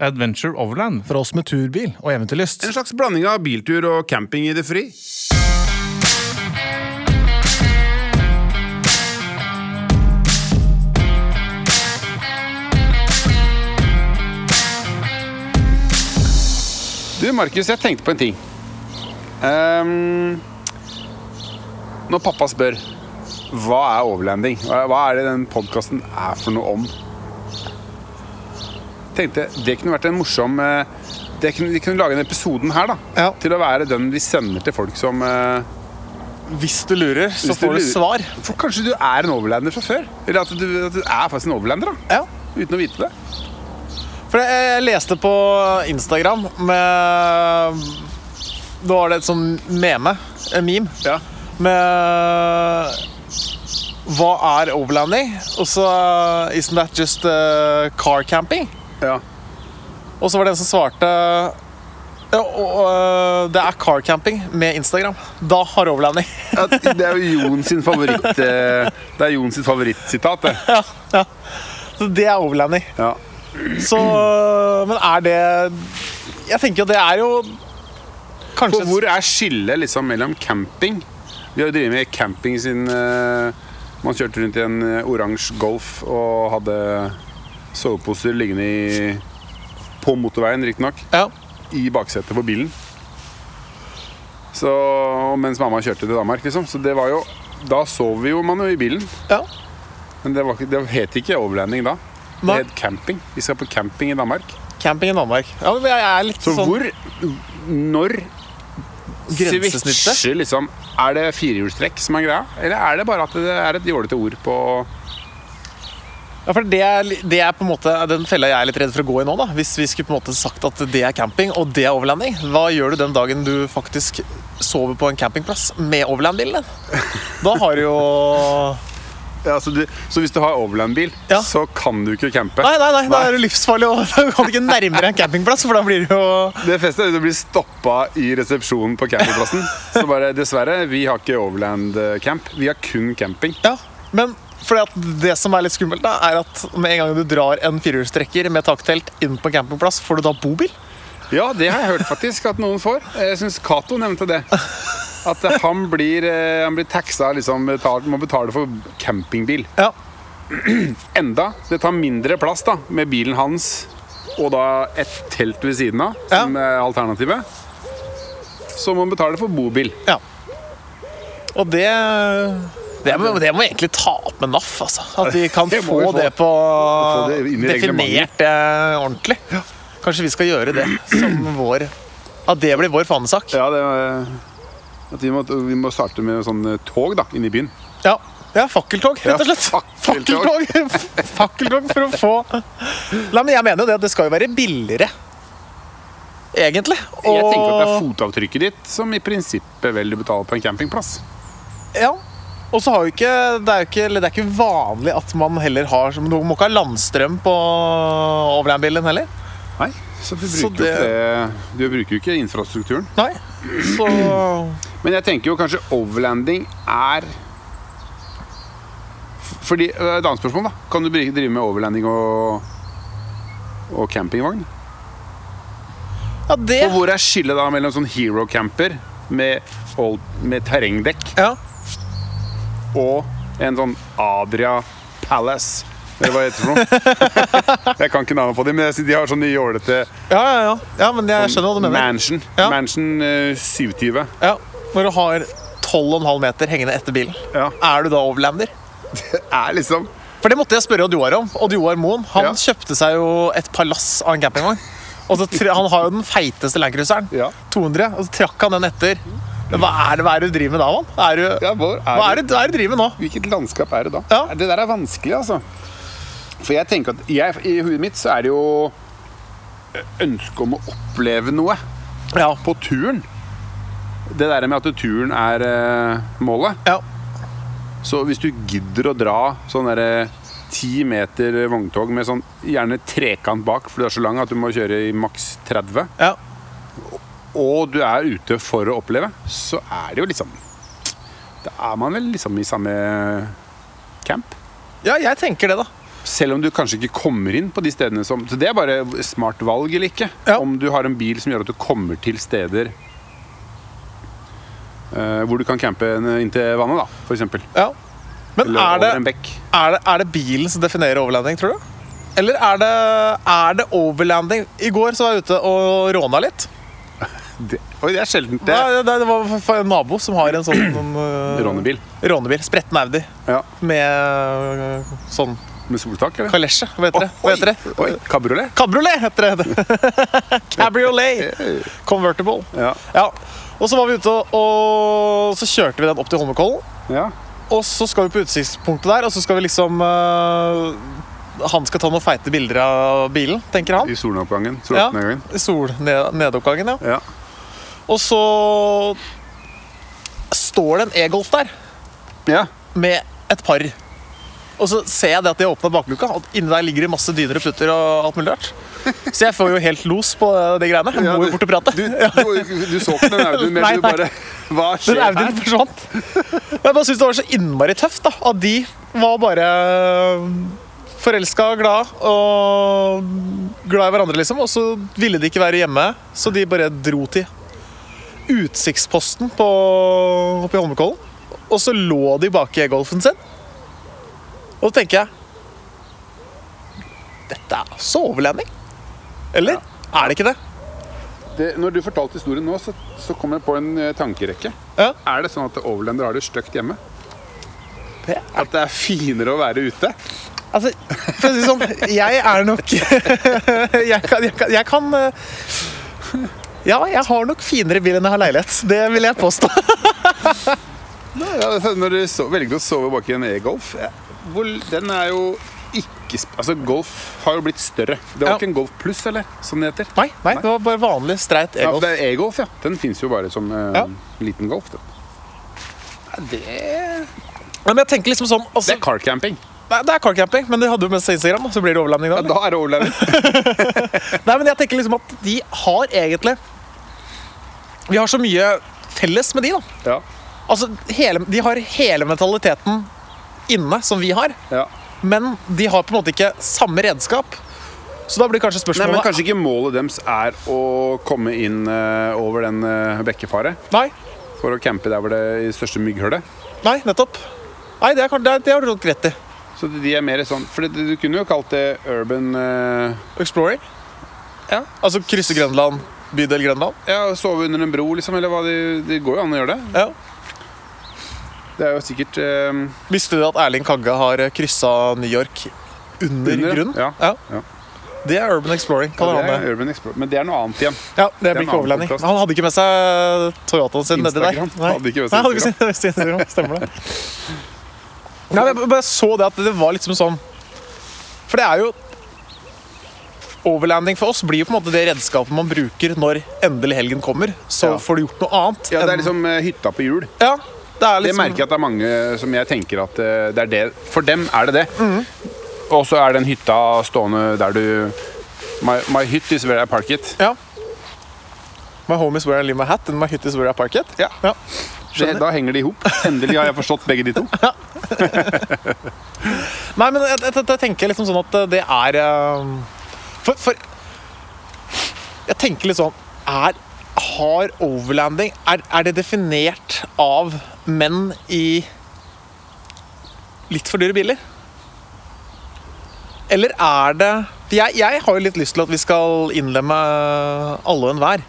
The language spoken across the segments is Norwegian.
Adventure Overland. For oss med turbil og eventyrlyst. En slags blanding av biltur og camping i det fri. Du, Markus, jeg tenkte på en ting. Ehm, når pappa spør hva er overlanding, hva hva er det den podkasten er for noe om, tenkte det kunne vært en morsom eh, det kunne, Vi kunne lage den episoden her, da. Ja. Til å være den vi sender til folk som eh, Hvis du lurer, så hvis får du lurer- svar. For kanskje du er en overlander fra før? Eller at du, at du er faktisk en overlander, da. Ja. Uten å vite det. For jeg, jeg leste på Instagram med Da var det et sånn meme. En meme. Ja. Med Hva er overlanding? Og så Isn't that just eh, car camping? ja. Og så var det en som svarte ja, og, øh, Det er car camping med Instagram. Da har overlanding. Ja, det er jo Jon sin favoritt eh, Det er Jon sitt favorittsitat, det. ja, ja. Så det er overlanding. Ja. Så øh, Men er det Jeg tenker jo det er jo For Kanskje hvor er skillet liksom mellom camping Vi har jo drevet med camping siden eh, man kjørte rundt i en eh, oransje Golf og hadde soveposer liggende i på motorveien, riktignok, ja. i baksetet på bilen. Så, og mens mamma kjørte til Danmark, liksom. Så det var jo Da sov vi jo man jo i bilen. ja. Men det, var, ikke- det het ikke overlanding da. Det Nei. het camping. Vi skal på camping i Danmark. Camping i Danmark. Ja, men jeg er litt Så sånn hvor Når Grensesnittet? switcher liksom Er det firehjulstrekk som er greia? Eller er det bare at det er et jålete ord på Ja, for det er, li- det er på en måte den fella jeg er litt redd for å gå i nå. da Hvis vi skulle på en måte sagt at det er camping og det er overlanding, hva gjør du den dagen du faktisk sover på en campingplass med overlandbilen din? Da har du jo ja, så, du, så hvis du har overlandbil, Ja. så kan du ikke campe? Nei, nei, nei, da er det livsfarlig. Og da kan du ikke nærmere en campingplass, for da blir det jo Det feste er at du blir stoppa i resepsjonen på campingplassen. Så bare dessverre, vi har ikke overland eh, camp. Vi har kun camping. Ja, men fordi at det som er litt skummelt, da, er at med en gang du drar en firehjulstrekker med taktelt inn på en campingplass, får du da bobil? Ja, det har jeg hørt faktisk at noen får. Jeg syns Cato nevnte det. At eh, han blir, eh, han blir taxa liksom, betalt, må betale for campingbil. Ja. enda Det tar mindre plass da med bilen hans og da et telt ved siden av, som er alternativet. Så må man betale for bobil. ja. Og det det må, det må egentlig ta opp med NAF, altså. At vi kan Det må få, vi få. det på Få det inn i reglementet. definert eh, ordentlig. Kanskje vi skal gjøre det som vår At det blir vår fanesak. Ja, det er- at vi, må, vi må starte med sånn eh, tog da, inn i byen. Ja, ja fakkeltog, rett og slett. Ja, fakkeltog. fakkeltog. fakkeltog for å få Nei, men jeg mener jo det at det skal jo være billigere. Egentlig. Jeg tenker at det er fotavtrykket ditt som i prinsippet vel du betaler på en campingplass. ja. Og så har jo ikke Det er jo ikke, eller det er ikke vanlig at man heller har Du må ikke ha landstrøm på overlandbilen heller. Nei, så du Så bruker jo ikke, det, du bruker jo ikke infrastrukturen. Nei. Så Men jeg tenker jo kanskje overlanding er Fordi, øh, det er Et annet spørsmål, da. Kan du bri- drive med overlanding og, og campingvogn? Ja, det Og hvor er skillet da mellom sånn hero camper med, all- med terrengdekk ja. og en sånn Adria Palace? Eller hva heter det for noe? jeg kan ikke navnet på dem, men jeg synes de har sånne jålete Ja, ja, ja. ja, men jeg skjønner hva du mener. mansion. Ja. Mansion eh, 720. Ja, Når du har 12,5 meter hengende etter bilen, Ja. er du da overlander? Det er liksom For det måtte jeg spørre Odd Joar om. Odd Joar Moen han Ja. kjøpte seg jo et palass av en campingvogn. Og så tre, Han har jo den feiteste Landcruiseren. Ja. 200. Og så trakk han den etter. Men hva er det, hva er det du driver med da, mann? Er du, Ja, hvor er hva er du? det, hva er det du driver med nå? Hvilket landskap er det da? Ja. Det der er vanskelig, altså. For jeg tenker at jeg, i hodet mitt så er det jo eh, ønsket om å oppleve noe Ja. på turen. Det der med at turen er eh, målet. ja. Så hvis du gidder å dra sånn derre ti meter vogntog med sånn gjerne trekant bak, for du er så lang at du må kjøre i maks 30, ja. og du er ute for å oppleve, så er det jo liksom Da er man vel liksom i samme camp. Ja, jeg tenker det, da. Selv om du kanskje ikke kommer inn på de stedene som Så det er bare smart valg eller ikke. Ja. Om du har en bil som gjør at du kommer til steder eh, hvor du kan campe en- inntil vannet, da, for eksempel. Ja. Men Eller er over det, en bekk. er, det, er det bilen som definerer overlanding, tror du? Eller er det, er det overlanding? I går så var jeg ute og råna litt. Det, oi, det er sjeldent. Det, Det er det, det var f- en nabo som har en sånn en, øh, rånebil. Rånebil. Spretten Audi Ja, med øh, sånn med soltak, eller? kalesje. Hva heter det? Hva heter det? Oi, oi, kabriolet? Cabriolet heter det! Cabriolet Convertible. Ja. Ja. Og så var vi ute, og, og så kjørte vi den opp til Holmenkollen. ja. Og så skal vi på utsiktspunktet der, og så skal vi liksom eh, Han skal ta noen feite bilder av bilen, tenker han. I soloppgangen. Ja, Soloppgangen. I solnedoppgangen, ja. Ja. Og så står det en e-golf der ja. med et par. Og så ser jeg det at de har åpna bakluka, og inni der ligger det masse dyner og putter. og alt mulig rart. Så jeg får jo helt los på de greiene. Jeg må jo bort og prate. Du, du, du så ikke den Audien, men Nei, du nei. bare Hva skjer Den Audien her? forsvant. Jeg bare synes det var så innmari tøft da, at de var bare forelska og glad og glad i hverandre, liksom. Og så ville de ikke være hjemme, så de bare dro til utsiktsposten på, oppe i Holmenkollen. Og så lå de bak i golfen sin. Og da tenker jeg Dette er sovelending. Eller? Er det ikke det? Det, når du fortalte historien nå, så, så kom jeg på en eh, tankerekke. Ja, Er det sånn at overlendere har det stygt hjemme? det At det er finere å være ute? Altså, for å si det sånn, jeg er nok jeg, kan, jeg, kan, jeg kan eh, Ja, jeg har nok finere bil enn jeg har leilighet. Det vil jeg påstå. Nei, ja, altså, når du so- velger å sove bak i en e-golf ja, hvor- Den er jo ikke sp- Altså, golf har jo blitt større. Det var Ja. ikke en Golf pluss, eller? Som det heter. Nei, nei, det var bare vanlig streit Ja, for e-golf. det er e-golf, ja. Den fins jo bare som eh, Ja. liten golf. Da. Nei, Men jeg tenker liksom sånn altså, Det er car camping. nei, Det er car camping, men de hadde jo med seg Instagram, da, så blir det overlanding da. Ja, da er det overlending. Nei, men jeg tenker liksom at de har egentlig Vi har så mye felles med de, da. Ja. Altså, hele, de har hele mentaliteten inne som vi har, ja. men de har på en måte ikke samme redskap. Så da blir kanskje Nei, spørsmålet men Kanskje ikke målet deres er å komme inn eh, over den uh, bekkefaret Nei, for å campe der hvor det er i største mygghullet. Nei, nettopp. Nei, det, er, kan- det, er- det har du nok rett i. Så de er mer sånn For det, du kunne jo kalt det urban eh, Exploring? Ja. Altså krysse Grønland, bydel Grønland? Ja, sove under en bro, liksom, eller hva det Det går jo an å gjøre det. Ja. Det er jo sikkert eh, Visste du at Erling Kagge har kryssa New York under, Under, grunn? ja. Ja. Det er urban exploring. ja, det kaller han eh, er det. urban explore. Men det er noe annet igjen. Ja, det en blir ikke annen overlanding. podcast. Han hadde ikke med seg Toyotaen sin nedi der. Instagram. Hadde ikke med seg Nei, hadde ikke med seg Instagram. Stemmer det. Nei, men jeg bare så det at det var liksom sånn For det er jo Overlanding for oss blir jo på en måte det redskapet man bruker når endelig helgen kommer. Så Ja. får du gjort noe annet. Ja, det enn- er liksom eh, hytta på hjul. Ja, det er Det liksom merker jeg at det er mange som jeg tenker at eh, det er det. For dem er det det. Og så er den hytta stående der du My, my hytt is where I park it. Ja. My home is where I leave my hat, and my hytte is where I park it. Ja. Ja. Det, da henger de i hop. Endelig har jeg forstått begge de to. Nei, men jeg, jeg, jeg tenker liksom sånn at eh, det er eh, For, for Jeg tenker litt sånn er, Har overlanding er, er det definert av menn i litt for dyre biler? Eller er det for jeg, jeg har jo litt lyst til at vi skal innlemme alle og enhver.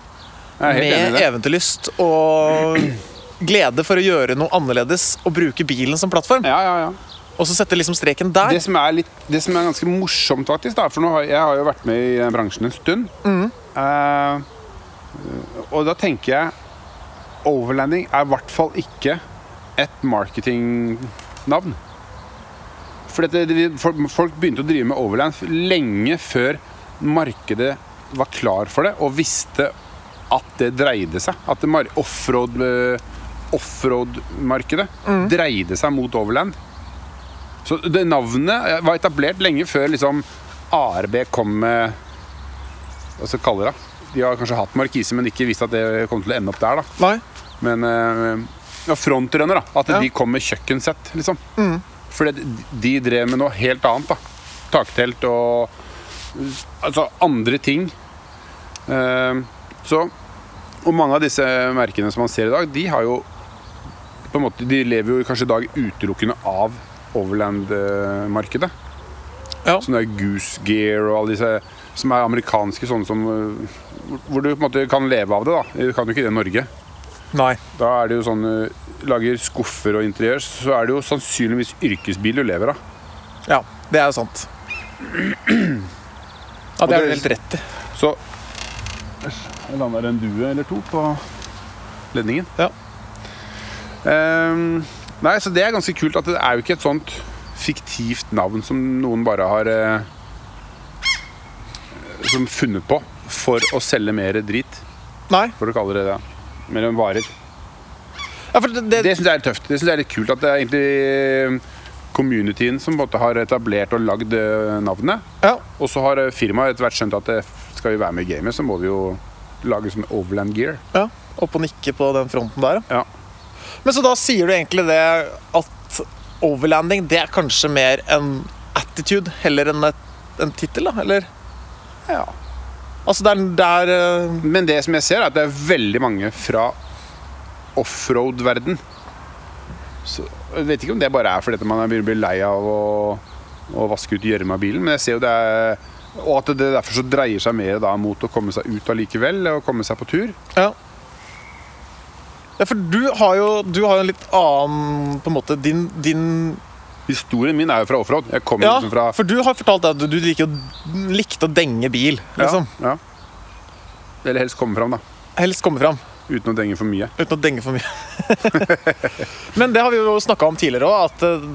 Jeg er helt enig Med i det. eventyrlyst og glede for å gjøre noe annerledes og bruke bilen som plattform. Ja, ja, ja. Og så sette liksom streken der. Det som er, litt, det som er ganske morsomt, faktisk, da, for nå har, jeg har jo vært med i eh, bransjen en stund Eh, Og da tenker jeg Overlanding er i hvert fall ikke et marketingnavn. For dette, det- folk- folk begynte å drive med overland f- lenge før markedet var klar for det og visste at det dreide seg. At det mar- offroad, eh, offroad-markedet dreide seg mot overland. Så det navnet eh, var etablert lenge før liksom ARB kom med Hva skal jeg kalle det? da? De har kanskje hatt markise, men ikke visst at det kom til å ende opp der. da Nei. men eh, ja, Frontrunner, da. At Ja. de kom med kjøkkensett, liksom. For de drev med noe helt annet, da. taktelt og altså andre ting. Eh, så Og mange av disse merkene som man ser i dag, de har jo på en måte, De lever jo kanskje i dag utelukkende av overland-markedet. Ja. Sånne der Goose Gear og alle disse som er amerikanske, sånne som eh, Hvor du på en måte kan leve av det, da. Du kan jo ikke det i Norge. Nei. Da er det jo sånn eh, Lager skuffer og interiør, så er det jo sannsynligvis yrkesbil du lever av. Ja, det er jo sant. Ja, Og det er du det- helt rett i. Så Jeg lander en due eller to på ledningen. Ja. Ehm, nei, så det er ganske kult at det er jo ikke et sånt fiktivt navn som noen bare har eh, Som funnet på for å selge mer drit, Nei. for å kalle det det. Mer enn varer. Ja, for det, det, Det syns jeg er litt tøft. Det synes jeg er litt kult at det er egentlig eh, communityen som på en måte har etablert og lagd eh, navnet. ja. Og så har eh, firmaet etter hvert skjønt at eh, skal vi være med i gamet, så må vi jo lage sånn overland gear. ja. Opp og nikke på den fronten der, Ja. Men så da sier du egentlig det at overlanding det er kanskje mer en attitude heller enn et, en tittel, da? Eller? ja. Altså det er, det er eh, Men det som jeg ser, er at det er veldig mange fra offroad-verden. Så jeg vet ikke om det bare er fordi at man begynner å bli lei av å, å vaske ut gjørme av bilen, men jeg ser jo det er Og at det derfor så dreier seg mer da mot å komme seg ut allikevel, og komme seg på tur. Ja. Ja, for du har jo du har jo en litt annen På en måte din, din Historien min er jo fra offroad. Jeg kommer Ja, liksom fra for du har fortalt deg at du liker å, likte å denge bil. Liksom. Ja, ja. Eller helst komme fram, da. Helst komme fram Uten å denge for mye. uten å denge for mye. men det har vi jo snakka om tidligere òg, at eh,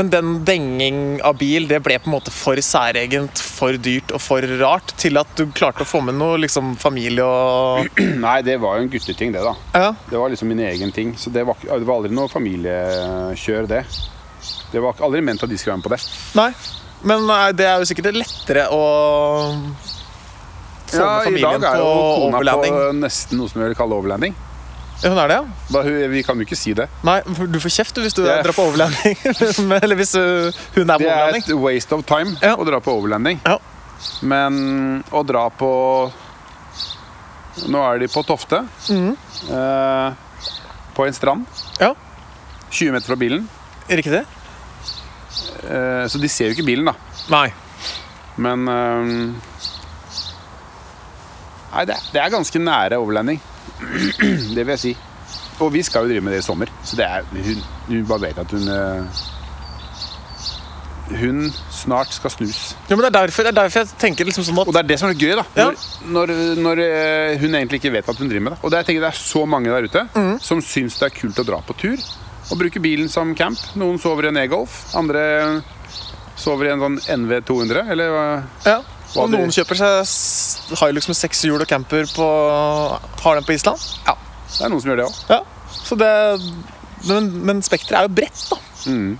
Men den denging av bil, det ble på en måte for særegent, for dyrt og for rart til at du klarte å få med noe liksom familie og Nei, det var jo en gutteting, det, da. Ja. Det var liksom min egen ting. Så det var, ikke- det var aldri noe familiekjør, det. Det var ikke- aldri ment at de skulle være med på det. Nei. Men nei, det er jo sikkert lettere å få med familien på overlanding. på nesten noe som jeg vil kalle overlanding. Ja, Hun er det, ja? Da, hun- vi kan jo ikke si det. Nei, du får kjeft du, hvis du Det er- drar på overlanding. Eller hvis uh, hun er på Det er overlanding. et waste of time Ja. å dra på overlanding. Ja. Men å dra på Nå er de på Tofte. Mhm. Eh, på en strand. Ja, 20 meter fra bilen. riktig. Eh, så de ser jo ikke bilen, da. Nei. Men øhm, Nei, det, det er ganske nære overlanding. Det vil jeg si. Og vi skal jo drive med det i sommer, så det er Hun, hun bare vet at hun øh, Hun snart skal snus. Ja, men det er derfor, det er derfor jeg tenker liksom sånn at Og det er det som er så gøy, da. Ja. Når, når, når øh, hun egentlig ikke vet at hun driver med det. Og det, jeg tenker, det er så mange der ute som syns det er kult å dra på tur og bruke bilen som camp. Noen sover i en e-golf, andre sover i en sånn NV 200, eller hva? ja, Hva og de- noen kjøper seg s- Hilux med seks hjul og camper på Har den på Island. Ja, det er noen som gjør det òg. Ja, så det Men, men spekteret er jo bredt, da. Mm.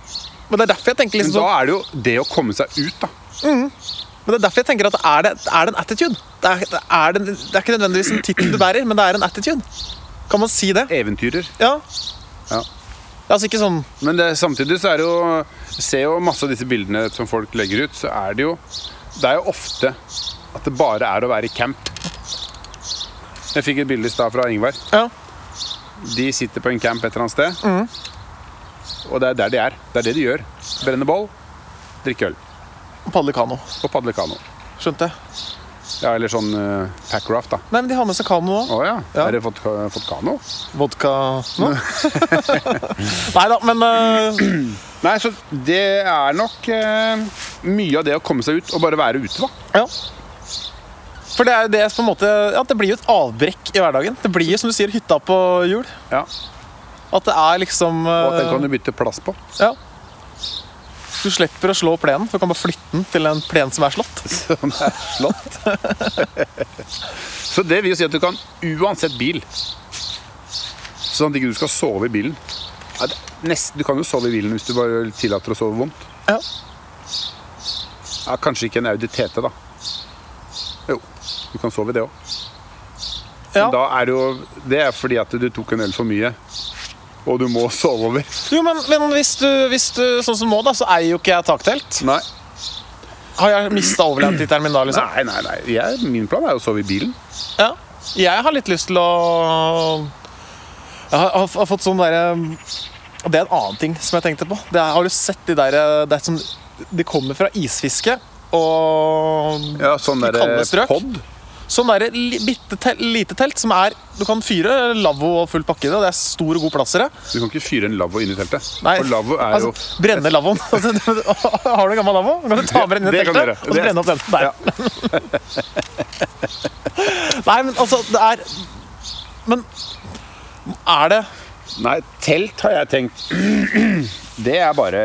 Men det er derfor jeg tenker Men liksom da sånn, er det jo det å komme seg ut, da. Men det er derfor jeg tenker at er det, er det en attitude? Det er, det, er det, det er ikke nødvendigvis en tittel du bærer, men det er en attitude. Kan man si det? Eventyrer. Ja. Ja. Altså ikke sånn Men det, samtidig så er det jo jeg Ser jo masse av disse bildene som folk legger ut, så er det jo Det er jo ofte at det bare er å være i camp. Jeg fikk et bilde i stad fra Ingvar. Ja. De sitter på en camp et eller annet sted. Mm. Og det er der de er. Det er det de gjør. Brenner boll, drikke øl Padle kano. og padle kano. Skjønte jeg. Ja, eller sånn eh, packraft, da. Nei, men de har med seg kano òg. Å ja. Ja. Har dere fått, fått kano? Vodka nå? Nei da, men øh, Nei, så det er nok eh, mye av det å komme seg ut og bare være ute, da. Ja. For det er jo det som på en måte Ja, det blir jo et avbrekk i hverdagen. Det blir jo, som du sier, hytta på hjul. Ja. At det er liksom Og at den kan eh, du bytte plass på. Ja. Du slipper å slå plenen, for du kan bare flytte den til en plen som er slått. Som er slått. så det vil jo si at du kan uansett bil. Sånn at ikke du skal sove i bilen. Ja, det, nesten, du kan jo sove i bilen hvis du bare tillater å sove vondt. Ja. Ja, kanskje ikke en Audi TT, da. Jo, du kan sove i det òg. ja. Men Da er det jo Det er fordi at du tok en øl for mye, og du må sove over. Jo, men, men hvis, du, hvis du Sånn som nå, da, så eier jo ikke jeg taktelt. Nei. Har jeg mista overland i terminal, liksom? Nei, nei, nei. Jeg, min plan er jo å sove i bilen. Ja. Jeg har litt lyst til å Jeg har, har, har fått sånn derre Det er en annen ting som jeg tenkte på. Det er, har du sett de derre det er sånn, De kommer fra isfiske og Ja, sånn I der kalde strøk? pod. sånn derre li- bitte tel, lite telt som er Du kan fyre lavvo og full pakke i det. Det er stor og god plass i det. Du kan ikke fyre en lavvo inn i teltet. Nei, For lavvo er altså, Brenne lavvoen. Altså, har du en gammel lavvo, kan du ta med den inn i Det kan du gjøre. teltet og så Det- brenne opp den. Der. Ja. Nei, men altså, det er Men er det jo Nei, telt har jeg tenkt Det er bare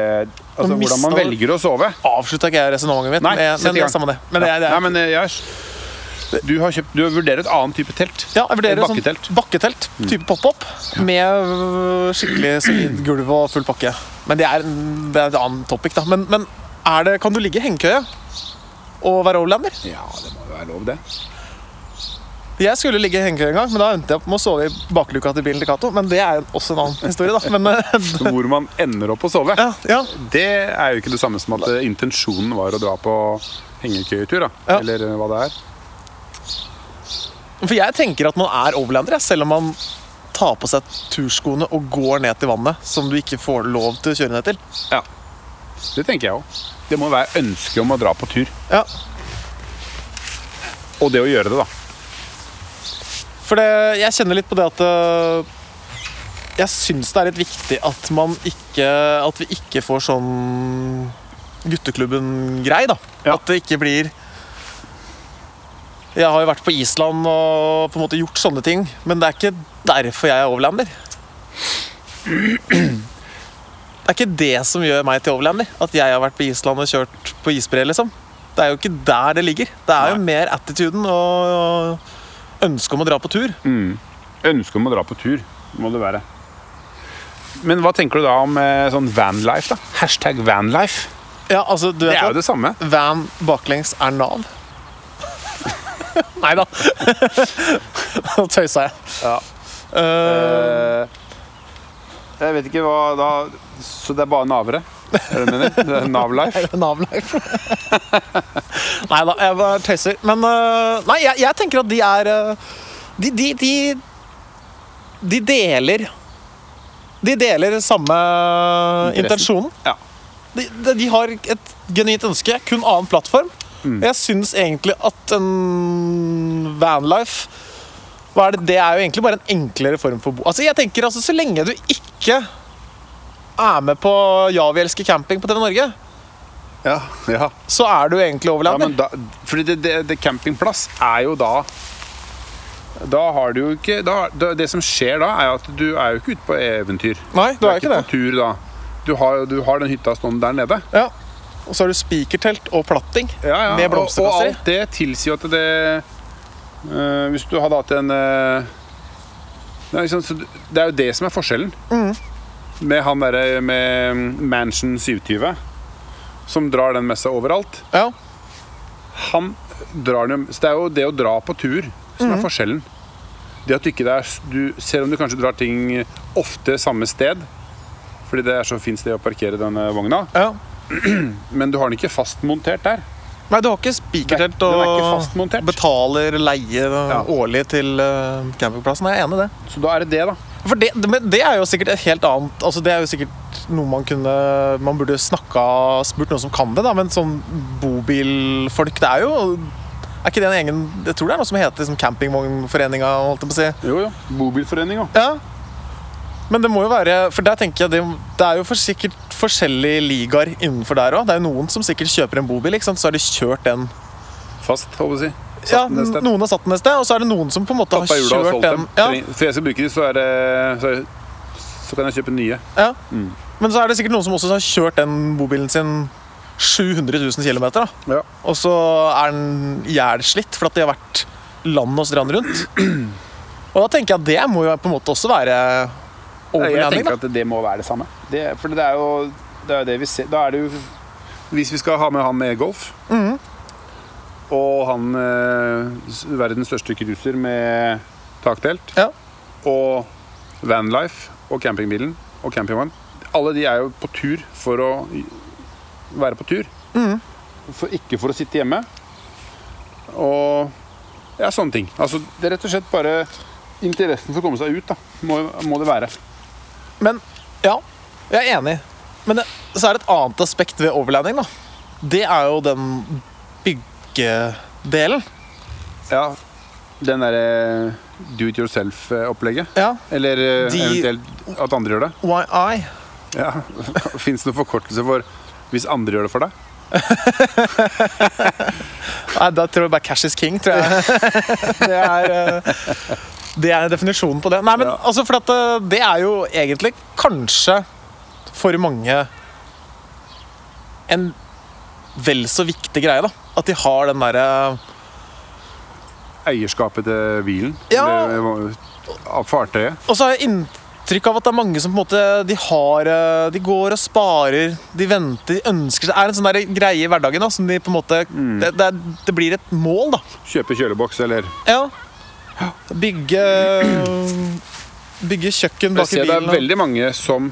altså, Og mista- hvordan man velger å sove. Avslutta ikke jeg resonnementet mitt, Nei, men, sett i men det gang. er samme det. Men det, er- det er, Nei, men eh, jeg Du har kjøpt Du vurderer et annet type telt. ja, jeg vurderer Et sånn bakketelt. bakketelt type pop-up med øh, skikkelig solid gulv og full pakke. Men det er, det er et annet topic, da. Men, men er det, kan du ligge i hengekøye og være overlander? Ja, det må jo være lov, det. Jeg skulle ligge i hengekøye en gang, men da endte jeg opp med å sove i bakluka til bilen til Cato. Men det er også en annen historie, da. Men øh, Hvor man ender opp å sove. ja, ja. Det er jo ikke det samme som at eh, intensjonen var å dra på hengekøyetur, da. Ja. Eller eh, hva det er. For jeg tenker at man er overlander, jeg, selv om man tar på seg turskoene og går ned til vannet, som du ikke får lov til å kjøre ned til. Ja. Det tenker jeg òg. Det må være ønske om å dra på tur. Ja, Og det å gjøre det, da. For det, jeg kjenner litt på det at øh, Jeg syns det er litt viktig at man ikke At vi ikke får sånn gutteklubben-grei, da. Ja. At det ikke blir Jeg har jo vært på Island og på en måte gjort sånne ting, men det er ikke derfor jeg er overlander. Det er ikke det som gjør meg til overlander. At jeg har vært på Island og kjørt på isbre, liksom. Det er jo ikke der det ligger. Det er jo mer attituden og ønske om å dra på tur. Ønske om å dra på tur, må det være. Men hva tenker du da om eh, sånn vanlife, da? Hashtag vanlife. Ja, altså, du Det vet er jo at det samme. van baklengs er Nav. Nei da. Nå tøysa jeg. Ja. Eh, jeg vet ikke hva da Så det er bare navere? Er det det du mener? Det er Nav-life? Nav-life. nei da, jeg bare tøyser. Men eh, nei, jeg, jeg tenker at de er eh, de, de, de, de deler De deler samme øh, intensjonen. Ja. De, de, de har et genuint ønske, kun annen plattform. Mm. Og Jeg syns egentlig at en vanlife hva er det? det er jo egentlig bare en enklere form for bo... Altså, jeg tenker altså, Så lenge du ikke er med på Ja, vi elsker camping på TV Norge, ja. ja. så er du egentlig Ja, overlander. men da, fordi det, det, det campingplass er jo da Da har du jo ikke da, da, Det som skjer da, er jo at du er jo ikke ute på eventyr. Nei, du er jo ikke ikke på det. tur da. Du har, du har den hytta stående der nede. Ja. Og så har du spikertelt og platting med og, og blomsterkasser. i. alt det tilsier jo at det eh, Hvis du hadde hatt en eh, det, er liksom, så du- det er jo det som er forskjellen med han derre med Mansion 720, som drar den med seg overalt. Ja. han drar dem Så det er jo det å dra på tur som er forskjellen. Det at du ikke det er du, Selv om du kanskje drar ting ofte samme sted, fordi det er så fint sted å parkere denne vogna, ja. men du har den ikke fastmontert der. Nei, du har ikke Den spikertelt er ikke og fastmontert. betaler leie årlig til eh, campingplassen. Jeg er enig i det. Så da er det det, da. For det, det, men det er jo sikkert et helt annet altså Det er jo sikkert noe man kunne Man burde snakka Spurt noen som kan det, da, men sånn bobilfolk Det er jo Er ikke det en egen Jeg tror det er noe som heter liksom, Campingvognforeninga, holdt jeg på å si. Jo, jo. Bobilforeninga. Ja. Men det må jo være For der tenker jeg det, det er jo for sikkert forskjellige ligaer innenfor der òg. Det er jo noen som sikkert kjøper en bobil, ikke sant? så har de kjørt den Fast, holdt jeg på å si. Satt Ja, den et sted. Noen har satt den et sted, og så er det noen som på en måte Tappa har hjula og kjørt solgt dem. den. Ja, For jeg skal bruke de, så er det så, er det- så kan jeg kjøpe nye. Ja. Mm. Men så er det sikkert noen som også har kjørt den bobilen sin 700 000 km. da. Ja. Og så er den jævlslitt fordi de har vært land og strand rundt. Og da tenker jeg at det må jo på en måte også være Jeg overlanding. tenker da. at det må være det samme. Det, for det er jo det, er jo det vi ser. Da er det jo Hvis vi skal ha med han med golf, Mhm. og han eh, s- verdens største cruiser med taktelt, Ja. og Vanlife og campingbilen og campingvogn Alle de er jo på tur for å være på tur. for, ikke for å sitte hjemme. Og ja, sånne ting. Altså, det er rett og slett bare interessen for å komme seg ut, da. Må, må det være. Men ja, jeg er enig. Men det, så er det et annet aspekt ved overlanding, da. Det er jo den byggedelen. Ja, den derre do it yourself-opplegget. Ja. Eller eh, De- eventuelt at andre gjør det. YI. Ja. Fins det noen forkortelse for 'hvis andre gjør det for deg'? Nei, da tror jeg bare cash is king, tror jeg. Det er, eh, det er definisjonen på det. Nei, men Ja. altså, for at eh, det er jo egentlig kanskje for mange en vel så viktig greie, da. At de har den derre eh, Eierskapet til hvilen? Ja. Eller, av fartøyet? Og så har jeg inntrykk av at det er mange som på en måte De har eh, De går og sparer, de venter, de ønsker seg Det er en sånn der greie i hverdagen da, som de på en måte det, det, er- det blir et mål, da. Kjøpe kjøleboks eller Ja. Bygge Bygge kjøkken Jeg bak i ser det er bilen. og- veldig mange som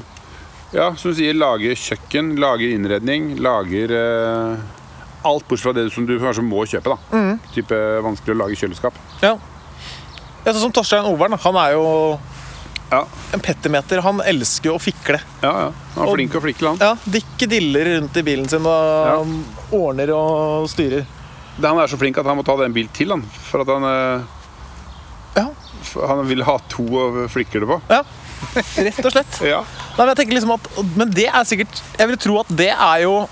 ja, som du sier, lager kjøkken, lager innredning, lager eh, alt bortsett fra det som du kanskje må kjøpe. da Mm. Type eh, vanskelig å lage kjøleskap. Ja. ja, sånn som Torstein Overen. da. Han er jo Ja, en petimeter. Han elsker jo å fikle. ja, ja. Han er Og- flink og flink til han. Ja, Dikke diller rundt i bilen sin og ordner og styrer. Det- Han er så flink at han må ta en bil til, han. For at han, eh, Ja, for han vil ha to og flikker det på. ja. Rett og slett. Ja. Nei, men, jeg tenker liksom at, men det er sikkert Jeg vil tro at det er jo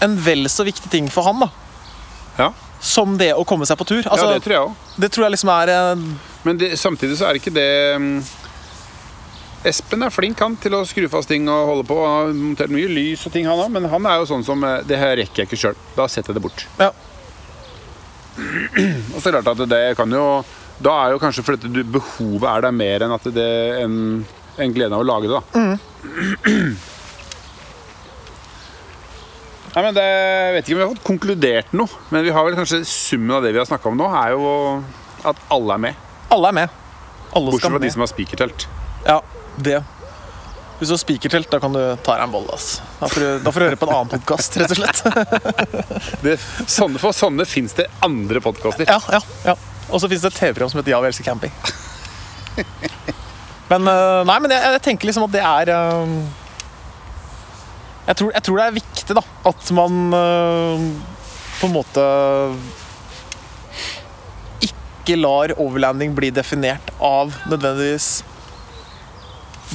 en vel så viktig ting for han da Ja, som det å komme seg på tur. ja Altså, det tror jeg òg. det, tror jeg liksom er eh, Men det, samtidig så er det ikke det mm, Espen er flink han til å skru fast ting og holde på. Han har montert mye lys og ting, han òg, men han er jo sånn som eh, Det her rekker jeg ikke sjøl. Da setter jeg det bort. Ja. Og så er det klart at det kan jo Da er jo kanskje fordi du, behovet er der mer enn at det enn enn gleden av å lage det, da. Nei, men det, Jeg vet ikke om vi har fått konkludert noe, men vi har vel kanskje summen av det vi har snakka om nå, er jo at alle er med. Alle er med. Alle Bortsett skal fra med. de som har spikertelt. Ja, det. Hvis du har spikertelt, da kan du ta deg en bolle. ass. Da får du, da får du høre på en annen podkast, rett og slett. Det, sånne, for sånne fins det andre podkaster. Ja, ja, ja. Og så fins det et TV-program som heter Ja, vi elsker camping. Men øh, nei, men jeg, jeg tenker liksom at det er øh, jeg, tror, jeg tror det er viktig, da. At man øh, på en måte ikke lar overlanding bli definert av nødvendigvis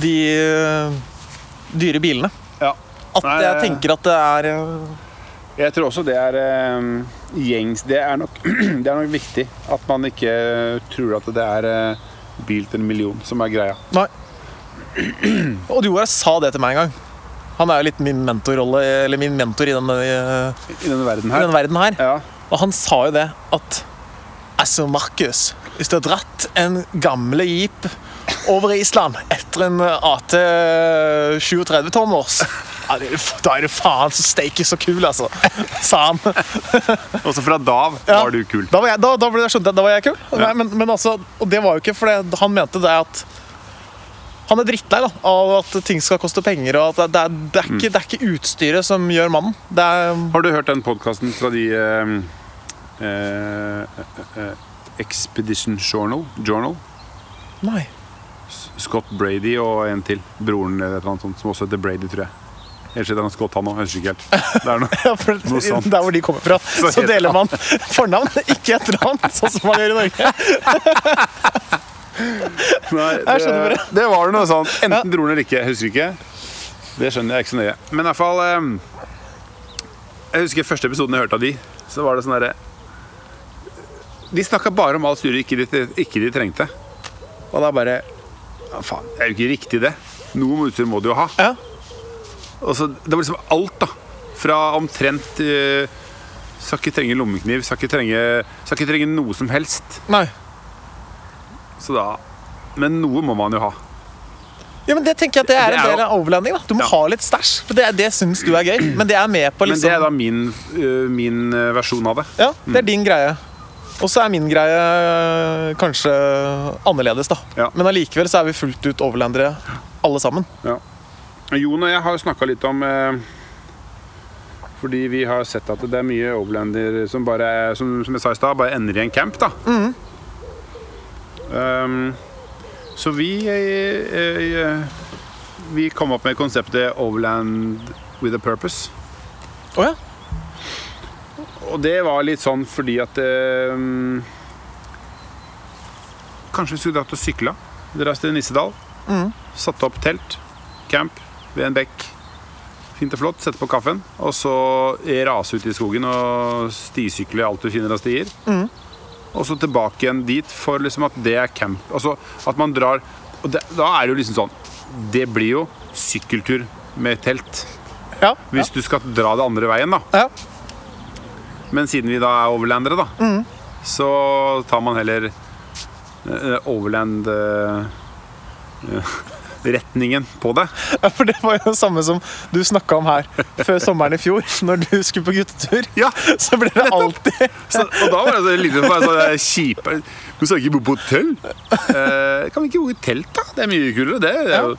de øh, dyre bilene. Ja. At Nei, jeg jeg- tenker at det er øh, Jeg tror også det er eh, gjengs det er, nok, det er nok viktig at man ikke eh, tror at det er eh, bil til en million som er greia. Nei. Odd Joar sa det til meg en gang. Han er jo litt min mentorrolle Eller min mentor i denne, i I denne verden her. denne verden her. Ja. Og han sa jo det at Altså, Markus, hvis du har dratt en gamle jeep over i Island etter en AT 37-tommers ja, det er f- Da er du faen så steike så kul, altså, sa han. Også fra da av Ja. var du kul. Da var jeg, da, da ble, jeg- skjønte jeg, da var jeg kul. Nei, men, men altså, og det var jo ikke, for det, han mente det at Han er drittlei da, av at ting skal koste penger. og at det, er, det, er Mm. ikke, det er ikke utstyret som gjør mannen. Det er, Har du hørt den podkasten fra de eh, eh, eh, Expedition Journal, Journal? nei. Scott Brady og en til. Broren eller et eller annet sånt, som også heter Brady, tror jeg. Ellers heter han Scott, han òg. Husker ikke helt. Det er noe. Ja, for Noe sånt. der hvor de kommer fra, så, heter deler man fornavn, ikke etternavn, sånn som man gjør i Norge. Nei, Jeg skjønner det, det var noe sånn Enten broren eller ikke, jeg husker ikke Det skjønner jeg ikke så nøye Men i hvert fall eh, Jeg husker første episoden jeg hørte av de Så var det sånn der De snakket bare om alt styret ikke, de- ikke de trengte Og da bare ja, Faen, det er jo ikke riktig det Noe utstyr må du jo ha Ja. Og så, Det var liksom alt da Fra omtrent eh, Skal ikke trenge lommekniv Skal ikke trenge, skal ikke trenge noe som helst Nei. Så da Men noe må man jo ha Ja, men Det tenker jeg at det er Det en er del jo- av overlanding. da. Du må Ja. Mm. ha litt stæsj. for Det, det syns du er gøy. Men det er med på Men det er liksom da min, øh, min øh, versjon av det. Ja, det er din greie. Og så er min greie øh, kanskje annerledes, da. Ja. Men allikevel så er vi fullt ut overlandere, alle sammen. Jon og jeg har snakka litt om øh, Fordi vi har sett at det er mye overlander som bare er- som, som jeg sa i stad, bare ender i en camp, da. Um, så vi eh, eh, Vi kom opp med konseptet Overland with a purpose. Å ja. Og det var litt sånn fordi at eh, Kanskje vi skulle dratt og sykla. Dratt til Nissedal. Satt opp telt, camp ved en bekk. Fint og flott. Sette på kaffen. Og så rase ut i skogen og stisykle alt du finner av stier. Og så tilbake igjen dit for liksom at det er camp. Altså at man drar Og det, da er det jo liksom sånn Det blir jo sykkeltur med telt. Ja. Hvis du skal dra det andre veien, da. ja. Men siden vi da er overlandere, da, Mm. så tar man heller eh, overland eh, eh, retningen på det. Ja, For det var jo det samme som du snakka om her før sommeren i fjor, når du skulle på guttetur. Ja, Så ble det alltid så, og da var det så litt bare sånn kjipe Du skal ikke bo på hotell? Eh, kan vi ikke bo i telt, da? Det er mye kulere, det. det er jo,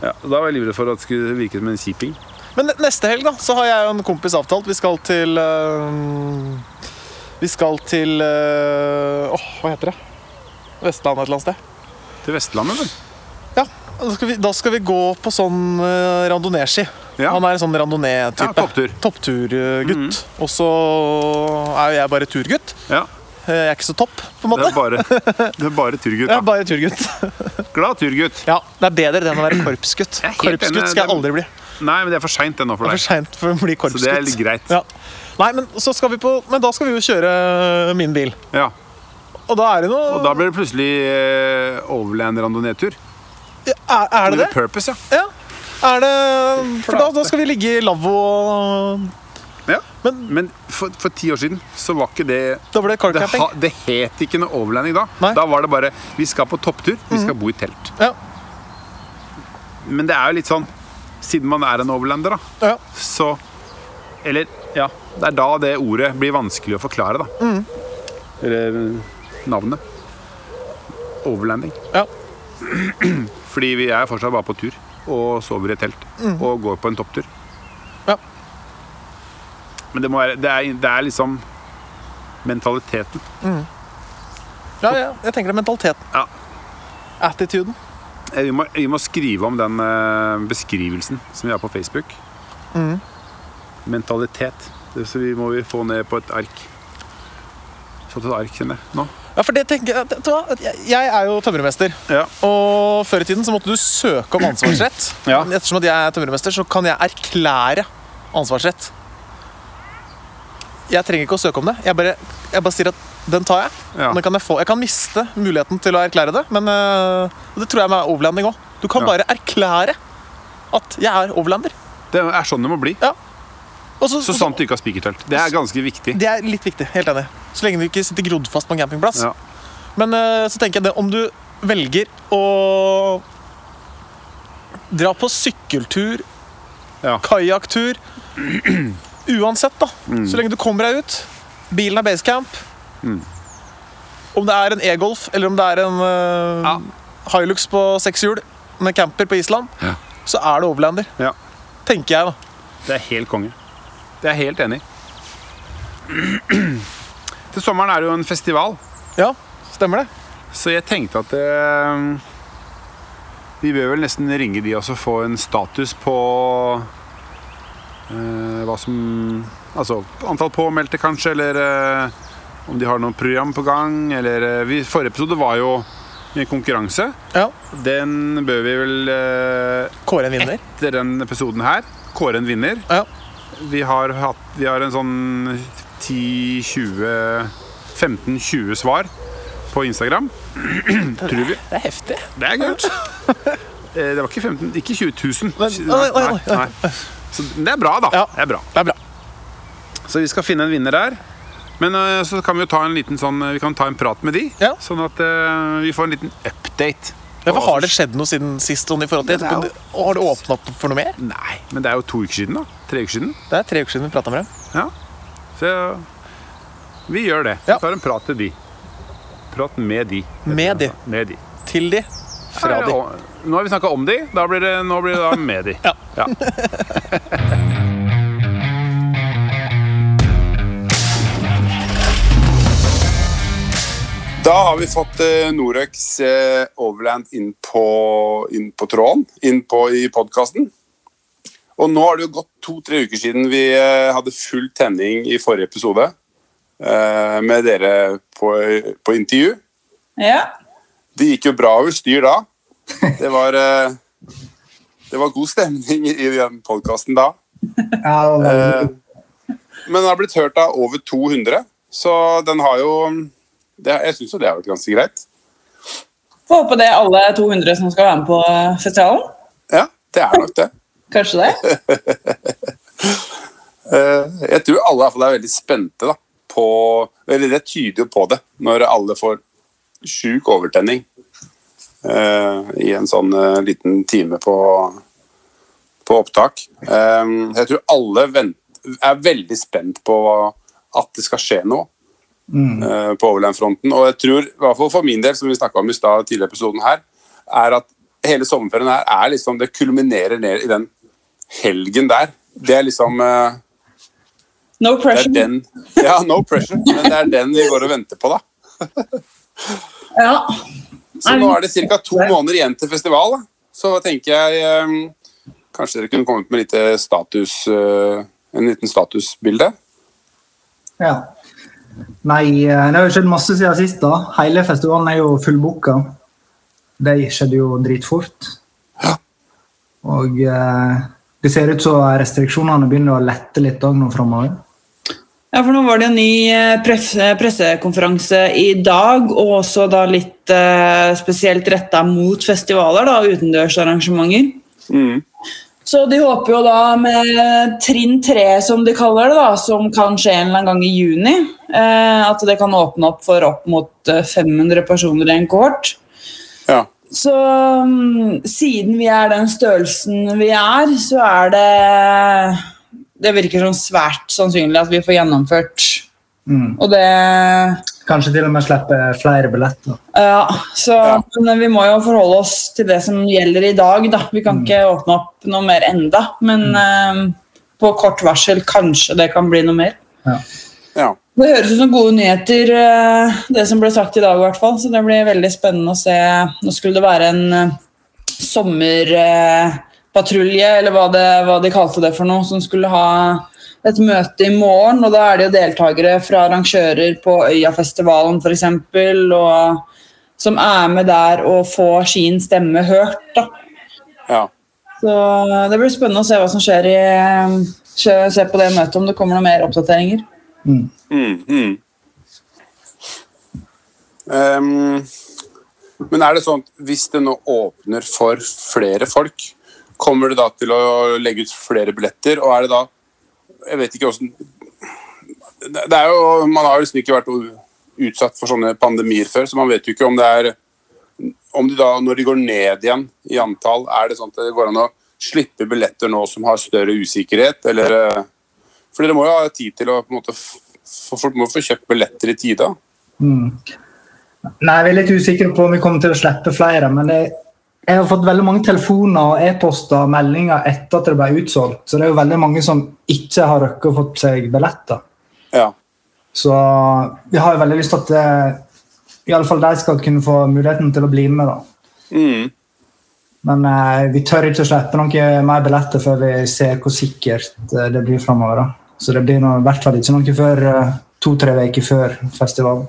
ja, da var jeg livredd for at det skulle virke som en kjiping. Men neste helg da, så har jeg og en kompis avtalt. Vi skal til øh, Vi skal til øh, Åh, hva heter det? Vestlandet et eller annet sted. Til Vestlandet, vel? Ja, Da skal vi, da skal vi gå på sånn øh, randonee-ski. Ja. Han er en sånn randonee-type. Ja, topptur. Mm. Toppturgutt. Og så er jo jeg bare turgutt. Eh, Ja. Jeg er ikke så topp, på Det en måte. er bare, det er bare turgutt. Jeg Da. er bare turgutt. Glad turgutt. Ja, Det er bedre det enn å være korpsgutt. Jeg er helt enig, Korpsgutt skal jeg det- aldri bli. Nei, men det er for seint ennå for Det er for deg. seint for å bli korpsgutt. det er litt greit. Ja. Nei, men, så skal vi på, men da skal vi jo kjøre eh, min bil. Ja. Og da er det noe Og da blir det plutselig eh, overland randonee-tur. er, er det With a det? purpose, ja. Ja. Er det For da, da skal vi ligge i lavvo og ja. Men Men for, for ti år siden så var ikke det da ble det det, carcamping. ha, det het ikke noe overlanding da. Nei. Mhm. Da var det bare Vi skal på topptur, vi skal bo i telt. Ja. Men det er jo litt sånn Siden man er en overlander, da, Ja. så Eller ja, det er da det ordet blir vanskelig å forklare, da. Mhm. Eller navnet. Overlanding. Ja. Fordi vi er fortsatt bare på tur og sover i et telt og går på en topptur. Ja. Men det, må være, det, er, det er liksom mentaliteten. Ja, ja, jeg tenker det er mentaliteten. Ja. Attituden. Eh, Vi må, vi må skrive om den eh, beskrivelsen som vi har på Facebook. Mm. Mentalitet. Det så vi må vi få ned på et ark. Fått et ark, kjenner jeg nå. Ja, for det tenker jeg vet du hva? Jeg- Jeg er jo tømrermester. Ja. Og før i tiden så måtte du søke om ansvarsrett. Ja. Men Ettersom at jeg er tømrermester, så kan jeg erklære ansvarsrett. Jeg trenger ikke å søke om det. Jeg bare, jeg bare sier at den tar jeg. Ja. Og Den kan jeg, få. jeg kan miste muligheten til å erklære det, men øh, det tror jeg med overlanding òg. Du kan Ja. bare erklære at jeg er overlander. Det er sånn det må bli. Ja. Og så- Så sant du ikke har spikertelt. Det er ganske viktig. Det er litt viktig. Helt enig. Så lenge du ikke sitter grodd fast på en campingplass. Ja. Men eh, så tenker jeg det, om du velger å dra på sykkeltur, Ja. kajakktur Uansett, da. Så lenge du kommer deg ut. Bilen er basecamp. Om det er en e-golf eller om det er en eh, Ja. Hilux på seks hjul med camper på Island, Ja. så er det overlander. Ja. Tenker jeg, da. Det er helt konge. Det er jeg helt enig. i. Til sommeren er det jo en festival, Ja, stemmer det? så jeg tenkte at eh, Vi bør vel nesten ringe de og så få en status på eh, hva som Altså antall påmeldte, kanskje, eller eh, om de har noe program på gang, eller eh, vi, Forrige episode var jo en konkurranse. Ja. Den bør vi vel eh, Kåre en vinner. etter den episoden her kåre en vinner. Ja. Vi har, hatt, vi har en sånn 10-20 15-20 svar på Instagram. Tror vi. Det er heftig. Det er kult. Eh, Det var ikke 15 Ikke 20 Nei, 000. nei, nei, nei. Så det er bra, da. Ja. Det er bra. Det er bra. Så vi skal finne en vinner der. Men eh, så kan vi jo ta en liten sånn Vi kan ta en prat med de, Ja. sånn at eh, vi får en liten update. Ja, for Hva har som det skjedd noe siden sist? Sånn, i forhold til Det er jo- etterpå? Og Har det åpna opp for noe mer? Nei, men det er jo to uker siden, da. Tre uker siden. Det er tre uker siden vi prata med dem. Ja. Så vi gjør det. Vi Ja. tar en prat til de. Prat med de. Med de. Med de. Til de. Fra Ja, de. ja, og- Nå har vi snakka om de, da blir det, nå blir det da med de. Ja. Ja. Da har vi fått eh, Norex eh, Overland inn på, inn på tråden, inn på i podkasten. Og nå har det jo gått to-tre uker siden vi eh, hadde full tenning i forrige episode eh, med dere på, eh, på intervju. Ja. Det gikk jo bra over styr da. Det var, eh, det var god stemning i den podkasten da. Ja, det var Eh, Men den har blitt hørt av over 200, så den har jo det, Jeg syns jo det har vært ganske greit. Får håpe det er alle 200 som skal være med på eh, festivalen. Ja, det er nok det. Kanskje det. Eh, Jeg tror alle i hvert fall er veldig spente da, på Eller det tyder jo på det, når alle får sjuk overtenning eh, i en sånn eh, liten time på, på opptak. Eh, jeg tror alle vent, er veldig spent på at det skal skje noe eh, på Overland-fronten. Og jeg tror, i hvert fall for min del, som vi snakka om i stad tidligere i episoden her, er at hele sommerferien her er liksom Det kulminerer ned i den helgen der. Det er liksom eh, No det er pressure. den, ja, no pressure, men det er den vi går og venter på, da. Ja. Så nå er det ca. to måneder igjen til festival. Da. Så tenker jeg eh, kanskje dere kunne kommet med lite status, eh, en liten statusbilde. Ja. Nei, eh, det har jo skjedd masse siden sist. da. Hele festivalen er jo fullbooka. Det skjedde jo dritfort. Og eh, det ser ut som restriksjonene begynner å lette litt òg nå framover. Ja, for nå var det en ny eh, pref- pressekonferanse i dag, og også da litt eh, spesielt retta mot festivaler, da, utendørsarrangementer. Så de håper jo da med trinn tre, som de kaller det, da, som kan skje en eller annen gang i juni, eh, at det kan åpne opp for opp mot eh, 500 personer i en kohort. Ja. Så mm, siden vi er den størrelsen vi er, så er det Det virker som svært sannsynlig at vi får gjennomført. Mm. Og det Kanskje til og med slippe flere billetter. Ja, så Ja. Men vi må jo forholde oss til det som gjelder i dag, da. Vi kan ikke åpne opp noe mer enda, men eh, på kort varsel kanskje det kan bli noe mer. ja. Det høres ut som gode nyheter, eh, det som ble sagt i dag i hvert fall. Så det blir veldig spennende å se. Nå skulle det være en eh, sommerpatrulje, eller hva, det, hva de kalte det for noe, som skulle ha et møte i morgen. Og da er det jo deltakere fra arrangører på Øyafestivalen f.eks. som er med der og får sin stemme hørt. da. ja. Så eh, det blir spennende å se hva som skjer i Se se på det møtet om det kommer noen mer oppdateringer. Mm, mm. Ehm, men er det sånn at hvis det nå åpner for flere folk, kommer det da til å legge ut flere billetter, og er det da Jeg vet ikke åssen det det er jo, Man har jo liksom ikke vært utsatt for sånne pandemier før, så man vet jo ikke om det er om de da, Når de går ned igjen i antall, er det sånn at det går an å slippe billetter nå som har større usikkerhet, eller eh, for dere må jo ha tid til å på en måte f- f- Folk må få kjøpt billetter i tide. Mm. Nei, Vi er litt usikre på om vi kommer til å slippe flere. Men det, jeg har fått veldig mange telefoner og e-poster og meldinger etter at det ble utsolgt. Så det er jo veldig mange som ikke har rukket å få seg billetter. Ja. Så vi har jo veldig lyst til at eh, i alle fall de skal kunne få muligheten til å bli med. da. Mm. Men eh, vi tør ikke å slippe noen mer billetter før vi ser hvor sikkert eh, det blir framover. Så det blir nå i hvert fall ikke noe før eh, to-tre uker før festivalen.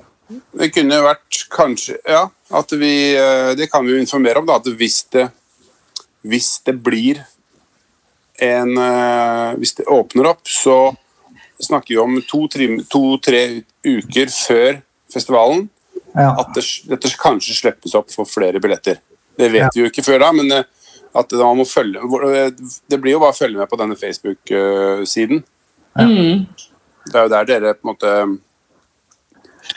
Det kunne vært kanskje Ja, at vi eh, Det kan vi jo informere om, da. At hvis det Hvis det blir en eh, Hvis det åpner opp, så snakker vi om to-tre to, tre uker før festivalen Ja. at det, dette kanskje slippes opp for flere billetter. Det vet Ja. vi jo ikke før da, men eh, at det, man må følge, hvor- eh, det blir jo bare å følge med på denne Facebook-siden. Mm. Det er jo der dere på en måte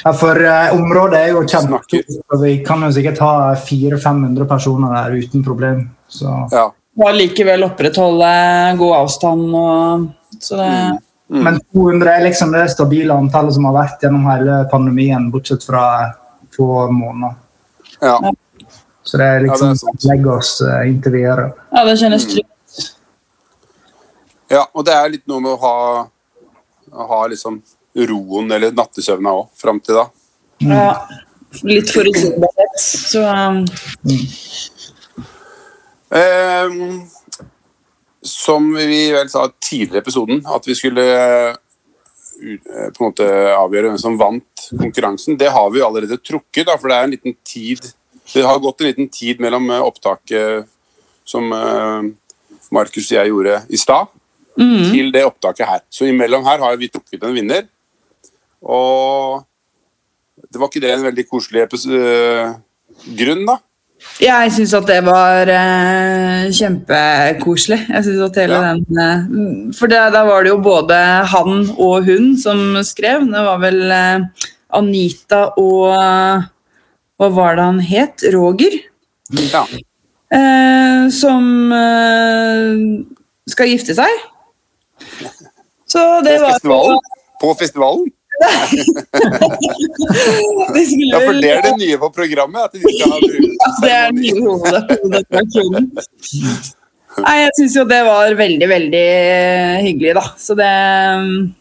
Ja, for eh, området er jo Snakker. kjempestort, og vi kan jo sikkert ha 400-500 personer der uten problem. Så Ja. Og likevel opprettholde god avstand og så det, Men 200 er liksom det stabile antallet som har vært gjennom hele pandemien, bortsett fra få måneder. ja. Så det er Ja, liksom det er sant. legge oss eh, inntil videre. Ja, det kjennes trygt. Ja, og det er litt noe med å ha, Mm. å ha liksom roen eller nattesøvna òg fram til da. Ja. litt forutsigbarhet. Så um, Ehm, som vi vel sa tidligere i episoden, at vi skulle eh, ut- eh, på en måte avgjøre hvem som vant konkurransen. Det har vi jo allerede trukket, da, for det er en liten tid Det har gått en liten tid mellom eh, opptaket som eh, Markus og jeg gjorde i stad, til det opptaket her. Så imellom her har vi trukket en vinner. Og det var ikke det en veldig koselig epis- eh, grunn, da? jeg syns at det var eh, kjempekoselig. Jeg synes at hele Ja. den eh, For det, der var det jo både han og hun som skrev. Det var vel eh, Anita og eh, Hva var det han het? Roger? Ja. eh, som eh, skal gifte seg. Så det På var festivalen? På festivalen? De skulle Ja, for vel- det er det nye på programmet. At de skal ha Ja, det er den brudseremoni. nye hoved- hovedattraksjonen. Nei, jeg syns jo det var veldig, veldig eh, hyggelig, da. Så det mm,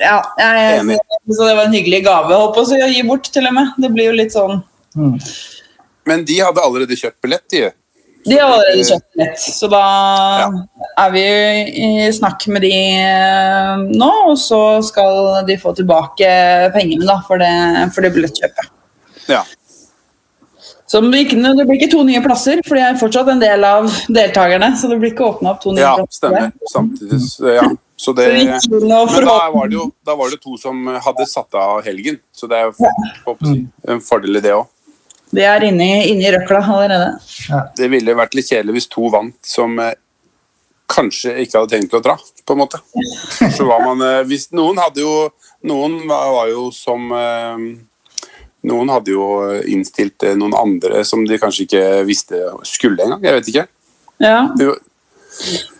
Ja, jeg Enig. syns det var en hyggelig gave holdt på å si, å gi bort, til og med. Det blir jo litt sånn Mm. Men de hadde allerede kjøpt billett, de. De har allerede kjøpt nett, så da Eh, Ja. er vi i snakk med de eh, nå, og så skal de få tilbake pengene da, for det, for det billettkjøpet. Ja. Så det blir, ikke, det blir ikke to nye plasser, for jeg er fortsatt en del av deltakerne. Så det blir ikke åpna opp to nye ja, plasser. stemmer. Samtidig, så- ja. Så det Så vi gikk inn og Men da forhåpentligvis var det jo da var det to som hadde satt av helgen, så det er jo håper jeg å si, en fordel i det òg. De er inne i, inne i røkla allerede. Det ville vært litt kjedelig hvis to vant som eh, kanskje ikke hadde tenkt å dra, på en måte. Så var man eh, Hvis noen hadde jo Noen var var jo som eh, Noen hadde jo innstilt eh, noen andre som de kanskje ikke visste skulle engang. Jeg vet ikke. Ja. Det var-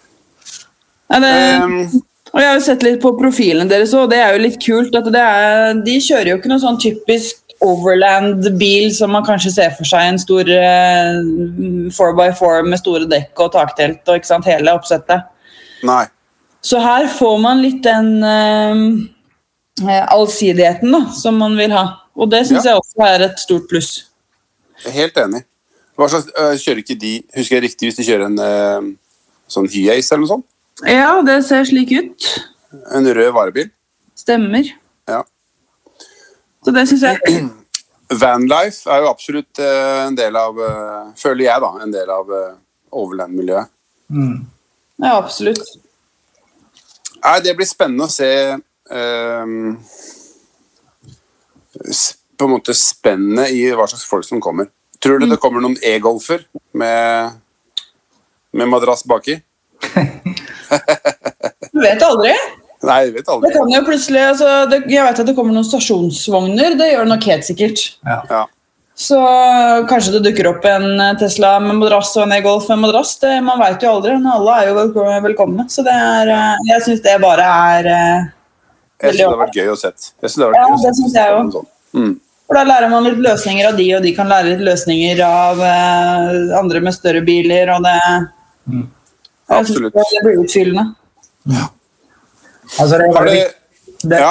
Ja, det, Ehm, Og jeg har jo sett litt på profilene deres òg, og det er jo litt kult. at det er, De kjører jo ikke noen sånn typisk Overland-bil som man kanskje ser for seg en stor eh, 4x4 med store dekk og taktelt og ikke sant, hele oppsettet. nei. Så her får man litt den eh, allsidigheten da, som man vil ha. Og det syns Ja. jeg også er et stort pluss. Jeg er helt enig. Hva slags, øh, kjører ikke de Husker jeg riktig hvis de kjører en øh, sånn Hyace eller noe sånt? Ja, det ser slik ut. En rød varebil? Stemmer. Ja. Så det syns jeg Vanlife er jo absolutt øh, en del av øh, Føler jeg, da. En del av øh, overland-miljøet. Mm. Ja, absolutt. Nei, det blir spennende å se eh, øh, s- På en måte spennet i hva slags folk som kommer. Tror Mm. du det kommer noen e-golfer med, med madrass baki? Du vet aldri. Nei, jeg vet Det aldri. kan jo plutselig, altså, det, Jeg vet at det kommer noen stasjonsvogner, det gjør det nok helt sikkert. Ja. Så kanskje det dukker opp en eh, Tesla med madrass og en E-Golf med madrass. Det, man veit jo aldri, men alle er jo velko- velkomne. Så det er, eh, jeg syns det bare er eh, Jeg syns det hadde vært gøy å sett. Jeg synes det hadde Ja, vært gøy å det sett. synes jeg også. Sånn. Mm. For da lærer man litt løsninger av de, og de kan lære litt løsninger av eh, andre med større biler, og det jeg synes Absolutt. Det, det blir utfyllende. Altså, det, er Har veldig, det, viktig- det, ja,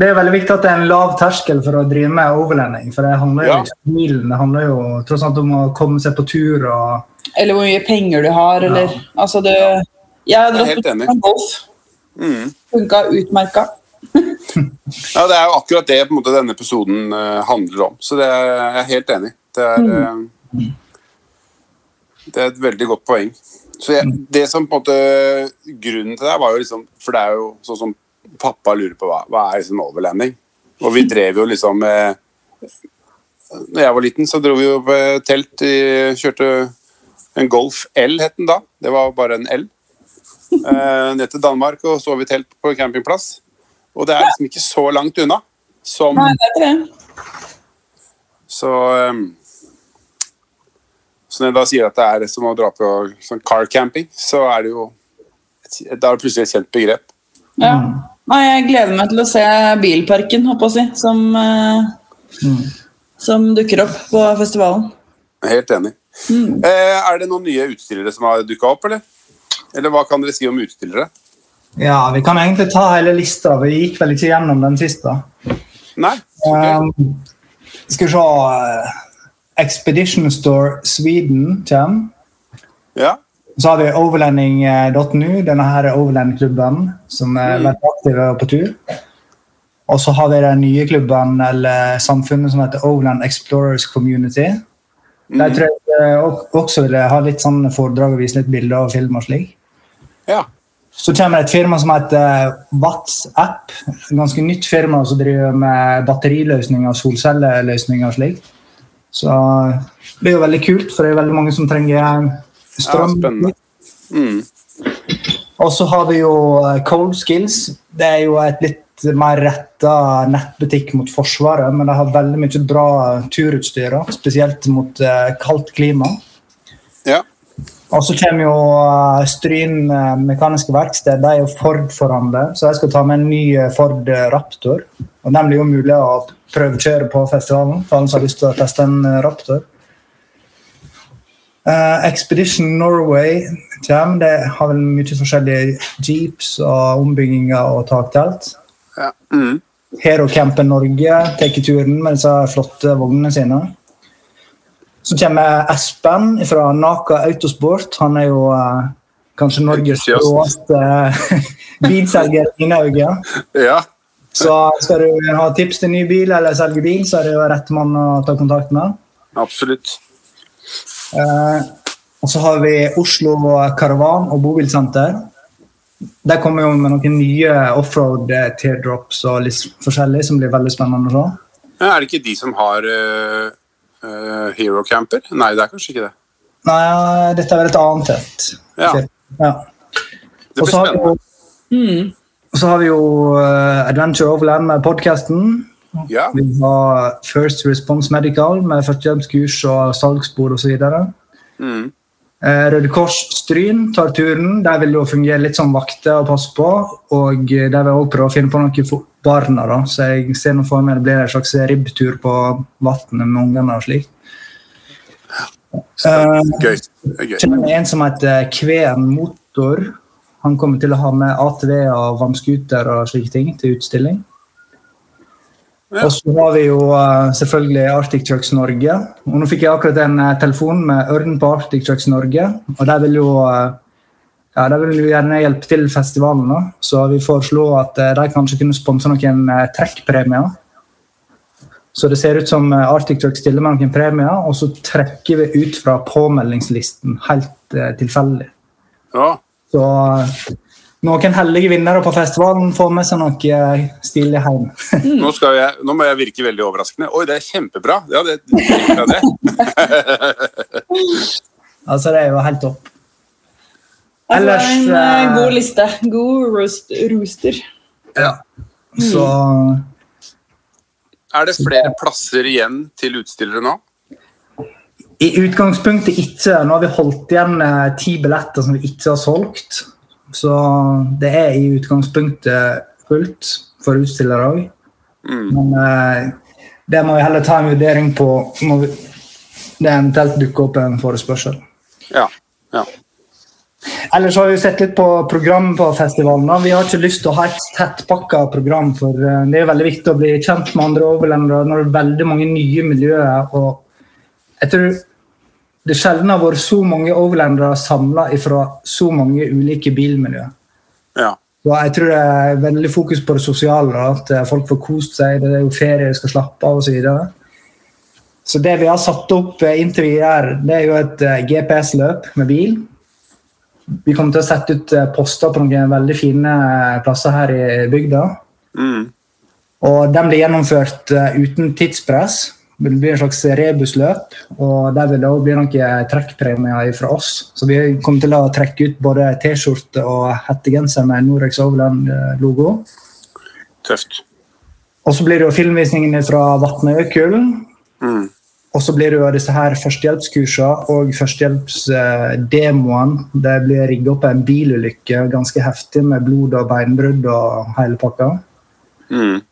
det er veldig viktig at det er en lav terskel for å drive med overlending. For det handler jo Ja. ikke om milen, det handler jo tross alt om å komme seg på tur og Eller hvor mye penger du har, eller Altså, du Jeg har Jeg er dratt helt på enig. en Golf. Mm. Funka utmerka. ja, det er jo akkurat det på en måte, denne episoden eh, handler om. Så det er, jeg er helt enig. Det er, eh, det er et veldig godt poeng. Så jeg, det som på en måte Grunnen til det her var jo liksom For det er jo sånn som pappa lurer på hva, hva er liksom overlanding? Og vi drev jo liksom eh, Når jeg var liten, så dro vi jo på telt i Kjørte en Golf L, het den da. Det var bare en L. Eh, ned til Danmark og sov i telt på campingplass. Og det er liksom ikke så langt unna. Som, Nei, det er ikke det. så um, Så når jeg da sier at det er som å dra på sånn car camping, så er det jo et- Da er det plutselig et kjent begrep. Ja. Nei, jeg gleder meg til å se Bilparken, håper jeg å si, som, eh, som dukker opp på festivalen. Jeg er Helt enig. Mm. Eh, er det noen nye utstillere som har dukka opp, eller? Eller hva kan dere si om utstillere? Ja, vi kan egentlig ta hele lista. Vi gikk vel ikke gjennom den sist, da. Nei? Ok. Um, Skal vi se eh, Expedition Store Sweden kommer. Ja. Så har vi overlending.nu, denne her er overlendingklubben som er veldig aktive og på tur. Og så har vi den nye klubben eller samfunnet som heter Overland Explorers Community. Der tror jeg eh, ok- også vil jeg ha litt sånn foredrag og vise litt bilder og film og slik. ja. Så kommer det et firma som heter WhatsApp. Et ganske nytt firma som driver med batteriløsninger og solcelleløsninger og slikt. Så eh, det er jo veldig kult, for det er veldig mange som trenger strøm. Ja, spennende. Mm. og så har vi jo eh, Cold Skills. Det er jo et litt mer retta nettbutikk mot Forsvaret, men de har veldig mye bra turutstyr, da, spesielt mot eh, kaldt klima. Ja. Og så kommer jo eh, Stryn eh, mekaniske verksted. De er jo Ford-forhandler, så jeg skal ta med en ny eh, Ford eh, Raptor. Og Den blir jo mulig å prøvekjøre på festivalen for alle som har lyst til å teste en eh, Raptor. Eh, Expedition Norway kommer. Det har vel mye forskjellige jeeps og ombygginger og taktelt. ja. Mm. Hero Campen Norge tar turen med disse flotte vognene sine. Så kommer Espen fra Naka Autosport. Han er jo eh, kanskje Norges Entusiast. råeste eh, bilselger i mine øyne. ja. Så skal du ha tips til ny bil eller selge bil, så er det jo rett mann å ta kontakt med. Absolutt. Eh, og så har vi Oslo Karavan og Bobilsenter. De kommer jo med noen nye offroad eh, teardrops og litt forskjellig som blir veldig spennende å se. Ja, er det ikke de som har eh, eh, Hero Camper? Nei, det er kanskje ikke det. Nei, dette er vel et annet telt. Ja. Ja. Det Og blir så har vi jo, spennende. Mm. og så har vi jo eh, Adventure Overland med podkasten. Ja. Vi har First Response Medical med førstehjelpskurs og salgsbord osv. Mm. Eh, Røde Kors Stryn tar turen. De vil jo fungere litt som vakter og passe på. Og de vil også prøve å finne på noe for barna, da. så jeg ser nå for meg det blir en slags ribbtur på vannet med ungene og slik. Eh, Gøy. Det er gøy. kjenner en som heter Kveen Motor. Han kommer til å ha med ATV og vannskuter og slike ting til utstilling. Ja. Og så har vi jo eh, selvfølgelig Arctic Trucks Norge. Og nå fikk jeg akkurat en eh, telefon med Ørn på Arctic Trucks Norge, og de vil jo eh, ja, de vil jo gjerne hjelpe til festivalen, da. så vi foreslo at eh, de kanskje kunne sponse noen eh, trekkpremier. Så det ser ut som eh, Arctic Truck stiller med noen premier, og så trekker vi ut fra påmeldingslisten helt eh, tilfeldig. Ja. Så eh, noen heldige vinnere på festivalen får med seg noe eh, stilig hjem. Nå, skal jeg, nå må jeg virke veldig overraskende. Oi, det er kjempebra! Ja, det, ja, det. altså, det er jo helt topp. Altså, Ellers, en eh, eh, god liste. God roast, rooster. Så Mm. Er det flere plasser igjen til utstillere nå? i utgangspunktet ikke. Nå har vi holdt igjen eh, ti billetter som vi ikke har solgt. Så det er i utgangspunktet fullt for utstillere òg. Mm. Men eh, det må vi heller ta en vurdering på når vi- det eventuelt dukker opp en forespørsel. Ja. ja. Ellers har vi jo sett litt på program på festivalen. da. Vi har ikke lyst til å ha et tettpakka program, for eh, det er jo veldig viktig å bli kjent med andre overlendere når det er veldig mange nye miljøer. og jeg tror det sjelden har vært så mange overlendere samla fra så mange ulike bilmiljøer. ja. Så jeg tror det er veldig fokus på det sosiale. da, At eh, folk får kost seg, det er jo ferie, skal slappe av osv. Så, videre. så det vi har satt opp eh, inntil videre, det er jo et eh, GPS-løp med bil. Vi kommer til å sette ut eh, poster på noen veldig fine eh, plasser her i bygda. Mm. Og den blir gjennomført eh, uten tidspress. Det blir en slags rebusløp, og der vil det også bli noen trekkpremier fra oss. Så vi kommer til å trekke ut både T-skjorte og hettegenser med Norex Overland-logo. Tøft. Og så blir det jo filmvisningene fra Vatnøykulen. Mm. Og så blir det jo disse her førstehjelpskursene og førstehjelpsdemoene. Det blir rigget opp en bilulykke ganske heftig med blod og beinbrudd og hele pakka. Mm.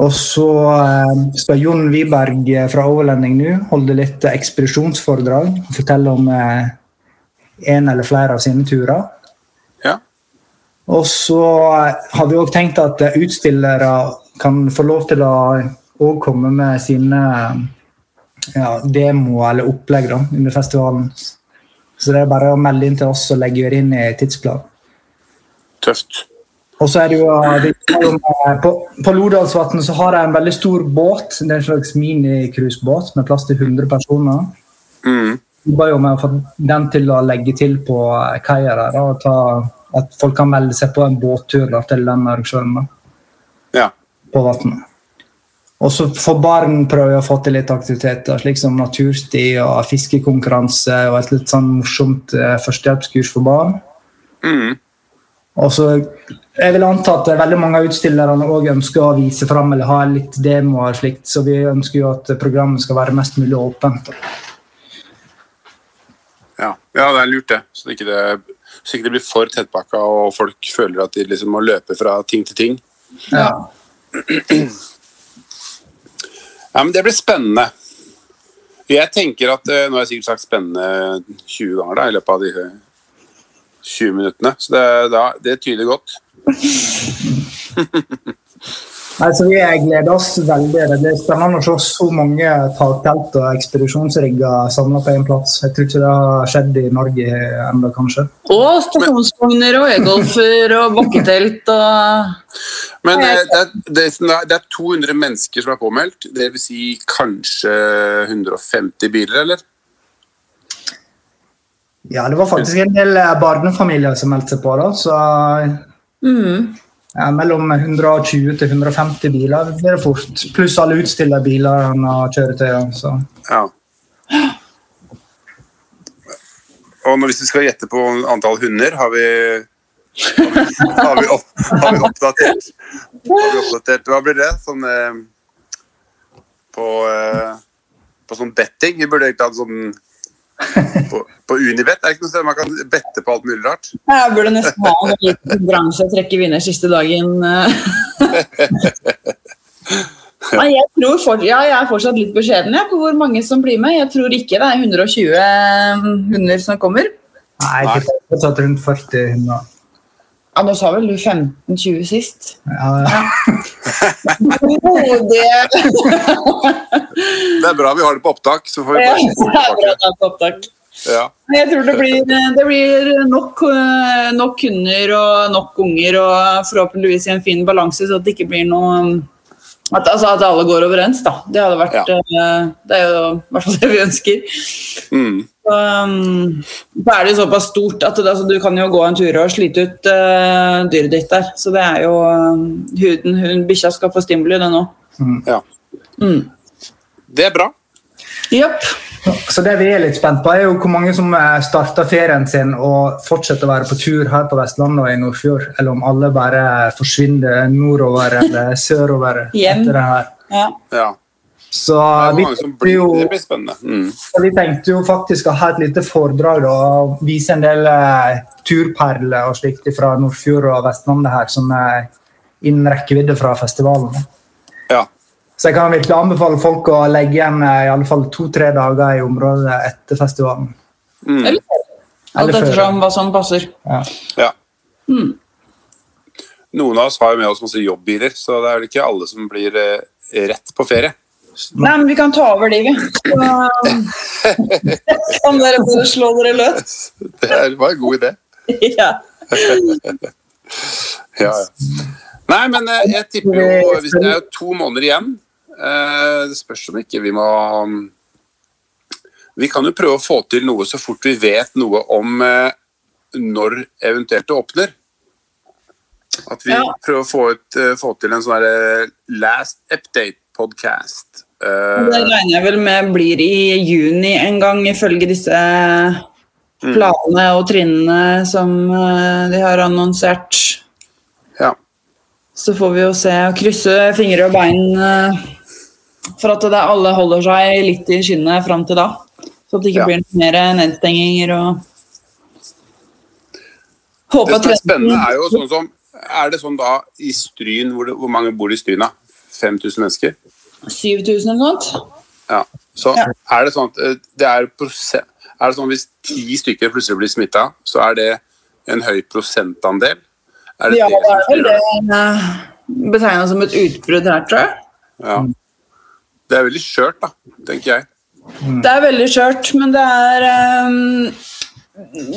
Og så eh, skal Jon Wiberg eh, fra Overlending nå holde litt eh, ekspedisjonsforedrag. og Fortelle om eh, en eller flere av sine turer. Ja. Og så eh, har vi òg tenkt at eh, utstillere kan få lov til å og komme med sine eh, ja, demoer eller opplegg da, under festivalen. Så det er bare å melde inn til oss og legge det inn i tidsplanen. Tøft. Og så er det jo, eh, det er jo På, på Lodalsvatn så har de en veldig stor båt. Det er en slags minicruisebåt med plass til 100 personer. Mm. Jobber jo med å få den til å legge til på eh, kaia der. da, og ta- At folk kan melde seg på en båttur da, til den arrangøren da, Ja. på vannet. Og så for barn prøver jeg å få til litt aktiviteter, slik som natursti og fiskekonkurranse og et litt sånn morsomt eh, førstehjelpskurs for barn. Mm. Og så, jeg vil anta at veldig mange av utstillerne også ønsker å vise fram eller ha litt demoer, og slikt, så vi ønsker jo at programmet skal være mest mulig åpent. Ja. ja, det er lurt det. Så det ikke, det, så ikke det blir for tettpakka og folk føler at de liksom må løpe fra ting til ting. Ja. Ja, men Det blir spennende. Jeg tenker at eh, Nå har jeg sikkert sagt 'spennende' 20 ganger da, i løpet av de eh, 20 minuttene. Så det, da, det tyder godt. Altså, vi gleder oss veldig. Det blir spennende å se så mange taktelt og ekspedisjonsrigger samla på én plass. Jeg tror ikke det har skjedd i Norge ennå, kanskje. Og stasjonsvogner og e-golfer og bakketelt og Men eh, det, er- det, er som det er- det er 200 mennesker som er påmeldt. Det vil si kanskje 150 biler, eller? Ja, det var faktisk en del eh, barnefamilier som meldte seg på, da, så mm. ja, mellom 120 til 150 biler blir det fort. Pluss alle utstillebilene og kjøretøyene. så... Ja. Og når, hvis vi skal gjette på antall hunder, har vi har vi, opp, har vi oppdatert? Har vi oppdatert Hva blir det? Sånn eh, på, eh, på sånn betting? Vi burde egentlig hatt sånn på, på Unibet. Er det ikke noe sted man kan bette på alt mulig rart? Jeg burde nesten ha en liten konkurranse og trekke vinner siste dagen. Nei, jeg, tror fort, ja, jeg er fortsatt litt beskjeden jeg, på hvor mange som blir med. Jeg tror ikke det er 120 eh, hunder som kommer. Nei, jeg tipper fortsatt rundt 40 hunder. Ja, Nå sa vel du 15-20 sist? Ja, ja. Jo, det Det er bra vi har det på opptak, så får vi Ja, bare det sjekke er bra tilbake. det er på opptak. Ja. Men Jeg tror det blir, det blir nok, eh, nok kunder og nok unger, og forhåpentligvis i en fin balanse, så at det ikke blir noe um, at, altså, at alle går overens, da. Det hadde vært eh, Det er jo i hvert fall det vi ønsker. Mm. Så, um, så er det jo såpass stort at det, altså, du kan jo gå en tur og slite ut eh, dyret ditt der. Så det er jo um, huden, hun, Bikkja skal få stimuli, den òg. ja. Mm. Det er bra. Japp. Så det vi er litt spent på, er jo hvor mange som eh, starter ferien sin og fortsetter å være på tur her på Vestlandet og i Nordfjord, eller om alle bare forsvinner nordover eller sørover Hjem. etter det her. Ja. Ja. Så Det, er vi mange som tenkte, blir, jo, det blir spennende. Mm. vi tenkte jo faktisk å ha et lite foredrag da, og vise en del eh, turperler og slikt fra Nordfjord og Vestlandet her som er innen rekkevidde fra festivalen. da. Ja. Så jeg kan virkelig anbefale folk å legge igjen eh, i alle fall to-tre dager i området etter festivalen. Mm. Eller alt Eller før. ettersom hva som passer. Ja. Ja. Hmm. Noen av oss har jo med oss masse jobbbiler, så det er vel ikke alle som blir eh, rett på ferie. Nei, men vi kan ta over de, vi. Så um, kan dere bare slå dere løs. Det er- var en god idé. Ja. Ja, ja. Nei, men eh, jeg tipper jo hvis Det er jo to måneder igjen. Eh, Det spørs om ikke vi må Vi kan jo prøve å få til noe så fort vi vet noe om eh, når eventuelt det åpner. At vi Ja. prøver å få, ut, eh, få til en sånn derre last eh, update-podkast. Det regner jeg vel med blir i juni en gang, ifølge disse Mm. planene og trinnene som eh, de har annonsert. Ja. Så får vi jo se og krysse fingre og bein eh, for at det alle holder seg litt i skinnet fram til da. Så at Ja. det ikke blir blir mer nedstenginger og Det Håper som er spennende, trenden- er jo sånn som Er det sånn da i Stryn Hvor, det, hvor mange bor det i Stryn, da? 5000 mennesker? 7000 eller noe sånt. Ja. Så Ja. er det sånn at eh, det er prosent Er det sånn hvis ti stykker plutselig blir smitta, så er det en høy prosentandel? Er det Ja, det det som er vel styrer det? det betegna som et utbrudd her, tror jeg. Ja. Det er veldig skjørt, da, tenker jeg. Det er veldig skjørt, men det er ehm,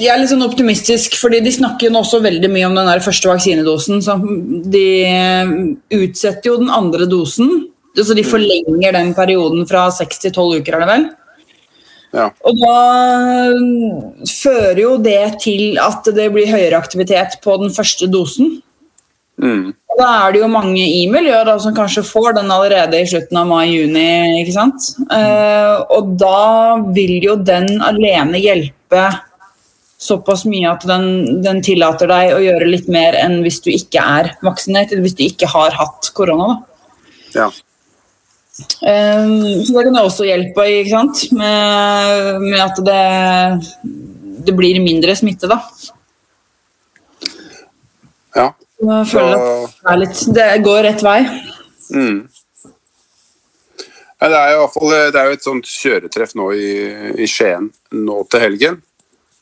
Jeg er litt sånn optimistisk, fordi de snakker jo nå også veldig mye om den der første vaksinedosen. Så de ehm, utsetter jo den andre dosen. Så de forlenger den perioden fra seks til tolv uker, er det vel? Ja. Og da eh, fører jo det til at det blir høyere aktivitet på den første dosen. Mm. Og da er det jo mange i miljøet da, som kanskje får den allerede i slutten av mai-juni. ikke sant? Eh, og da vil jo den alene hjelpe såpass mye at den, den tillater deg å gjøre litt mer enn hvis du ikke er vaksinert, eller hvis du ikke har hatt korona. da. ja. Eh, så det kan jo også hjelpe ikke sant? Med, med at det, det blir mindre smitte, da. ja. Jeg føler Så- at det, er litt, det går rett vei. Mm. Nei, Det er jo, i hvert fall- eh, det er jo et sånt kjøretreff nå i, i Skien nå til helgen.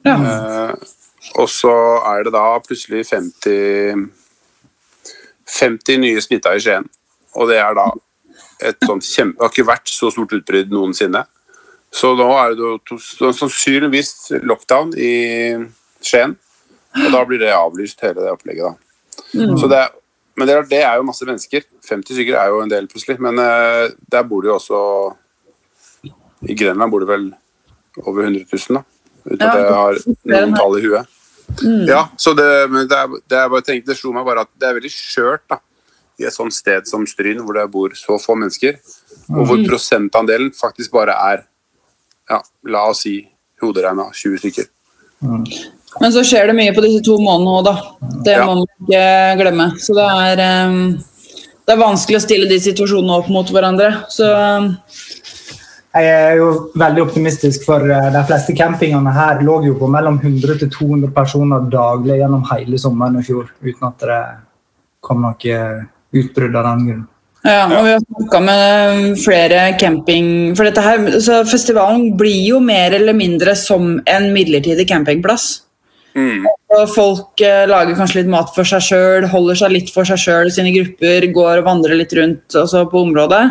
Ja. Eh, og så er det da plutselig 50, 50 nye smitta i Skien. Og det er da et sånt kjempe... Det har ikke vært så stort utbrudd noensinne. Så nå er det jo to, så- sannsynligvis lockdown i Skien. Og da blir det avlyst, hele det opplegget, da. Så det, er- men det er, det er jo masse mennesker. 50 stykker er jo en del, plutselig. Men eh, der bor det jo også I Grenland bor det vel over 100 000, da. Uten at Ja, jeg har det er noen det. tall i huet. Ja, så det, men det, er, det, er bare, tenk, det slo meg bare at det er veldig skjørt da, i et sånt sted som Stryn, hvor det bor så få mennesker, og hvor prosentandelen faktisk bare er, ja, la oss si, hoderegna 20 stykker. Men så skjer det mye på disse to månedene òg, da. Det Ja. må man ikke glemme. Så det er, ehm, det er vanskelig å stille de situasjonene opp mot hverandre. Så ehm, Jeg er jo veldig optimistisk, for eh, de fleste campingene her lå jo på mellom 100 til 200 personer daglig gjennom hele sommeren i fjor, uten at det kom noe utbrudd av den grunn. ja, og vi har snakka med flere camping... For dette her, så festivalen blir jo mer eller mindre som en midlertidig campingplass. Mm. Og folk eh, lager kanskje litt mat for seg sjøl, holder seg litt for seg sjøl i sine grupper, går og vandrer litt rundt altså på området.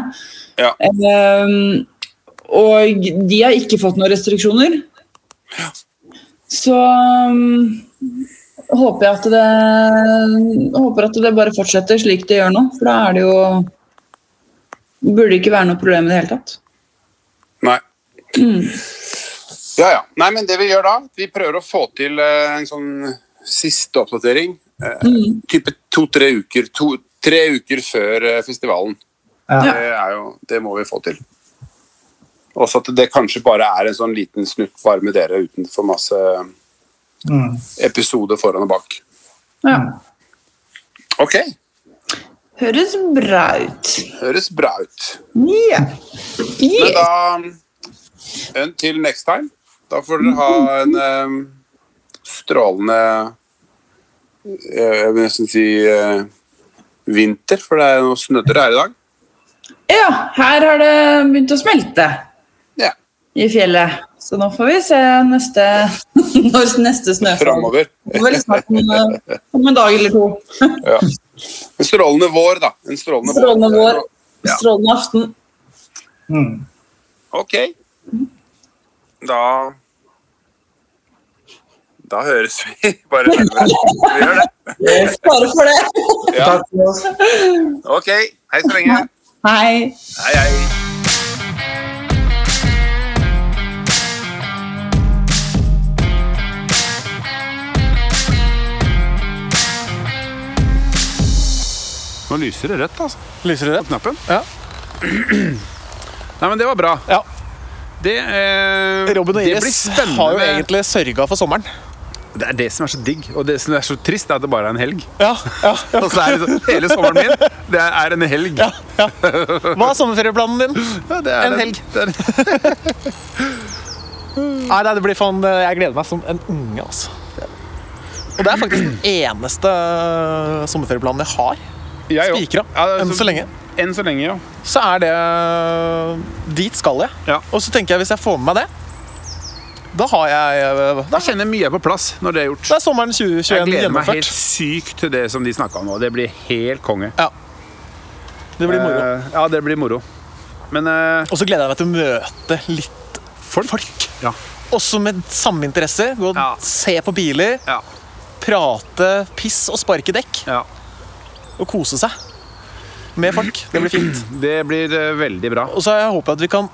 Ja. Ehm, og de har ikke fått noen restriksjoner. Så um, håper jeg at det håper at det bare fortsetter slik det gjør nå, for da er det jo Burde ikke være noe problem i det hele tatt. Nei. Ja, ja. Nei, men det vi gjør da, vi prøver å få til eh, en sånn siste oppdatering, eh, type to-tre uker, to, tre uker før eh, festivalen. Ja. Det, er jo, det må vi få til. Også at det kanskje bare er en sånn liten snutt bare med dere, uten for masse Mm. episoder foran og bak. Ja. Mm. Ok, Høres bra ut. høres bra ut. Ja. Men Yeah. da Until next time. Da får dere ha en eh, strålende eh, Jeg vil nesten si eh, vinter, for det er noe snødder her i dag. ja, her har det begynt å smelte. Ja, i fjellet. Så nå får vi se neste, når neste snøfall Framover. Det er Vel snart om, eh, om en dag eller to. En strålende vår, da. En strålende, Strålende vår, strålende aften. Mm. Ok. Da Da høres vi. Bare Vi gjør det. Bare Eh, for det. Ja. Takk for oss. Ok. Hei så lenge. Hei. Hei, hei. Nå lyser det rødt, altså. Lyser det? Knappen. Ja. Nei, men det var bra. Ja. Det, eh, Robin og det blir Iris spennende. har jo med- egentlig sørga for sommeren. Det er det som er så digg, og det som er så trist, er at det bare er en helg. Ja, ja, ja. Og så er det sånn, Hele sommeren min, det er en helg. ja, ja. Hva er sommerferieplanen din? Ja, det er En det. helg. Det er, Nei, nei, det blir faen Jeg gleder meg som en unge, altså. Og det er faktisk den eneste øh, sommerferieplanen jeg har. jeg òg. Spikra. Ja, det er Enn så lenge. Enn så lenge, ja. Så er det Dit skal jeg. Ja. Og så tenker jeg hvis jeg får med meg det, da har jeg øh, Da Da kjenner jeg mye er på plass når det er gjort. da er sommeren 2021 Jeg gleder meg helt gjennomført. sykt til det som de snakka om nå. Det blir helt konge. øh, Det blir moro. Eh, ja, det blir moro. Men eh, Og så gleder jeg meg til å møte litt folk. ja. Også med samme interesse. Gå og Ja. se på biler, Ja. prate piss og sparke dekk. ja. Og kose seg med folk. Det blir fint. Det blir eh, veldig bra. Og så har jeg håpet at vi kan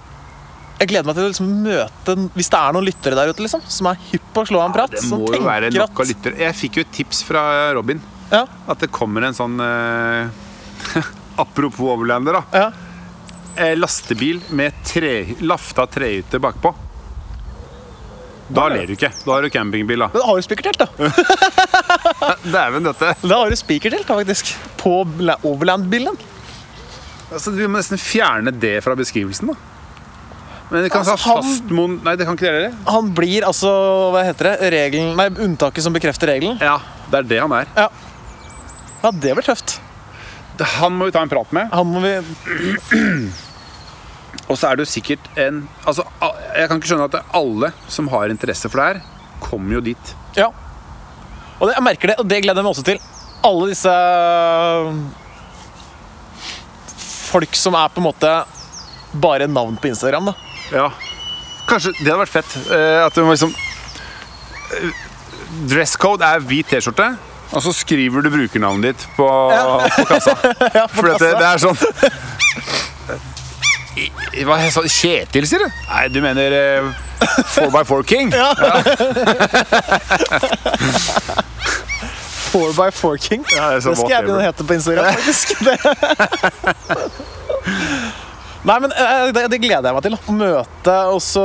Jeg gleder meg til å liksom møte Hvis det er noen lyttere der ute liksom, som er hypp på å slå av en prat. Det som må jo Sånn tenker være nok av at- lyttere. Jeg fikk jo et tips fra eh, Robin. Ja, At det kommer en sånn eh, Apropos Overlander, da. ja. Eh, lastebil med tre, lafta trehytte bakpå. Da ler du ikke. Da har du campingbil, da. Men da har du spikertelt, da. Dæven, dette. Da har du spikertelt, da, faktisk. På la- Overland-bilen. Altså, vi må nesten fjerne det fra beskrivelsen, da. Men det kan Altså, ha han- fastmon... Nei, det kan ikke dere. Han blir altså Hva heter det? Regelen Nei, unntaket som bekrefter regelen. Ja. Det er det han er. Ja. Ja, det blir tøft. Han må vi ta en prat med. Han må vi Og så er det jo sikkert en Altså, a- jeg kan ikke skjønne at det er alle som har interesse for det her, kommer jo dit. Ja. Og det, jeg merker det, og det gleder jeg meg også til. Alle disse øh, Folk som er på en måte bare navn på Instagram, da. Ja. Kanskje Det hadde vært fett. eh, At det var liksom eh, Dress code er hvit T-skjorte, og så skriver du brukernavnet ditt på, på kassa. For det, det er sånn I- Hva er det sånn? Kjetil, sier du? Nei, du mener eh, 4x4 King? 4x4 King. Ja, det er så det skal jeg begynne å hete på Instagram, faktisk. Det- Nei, men eh, det, det gleder jeg meg til. da. Å møte og så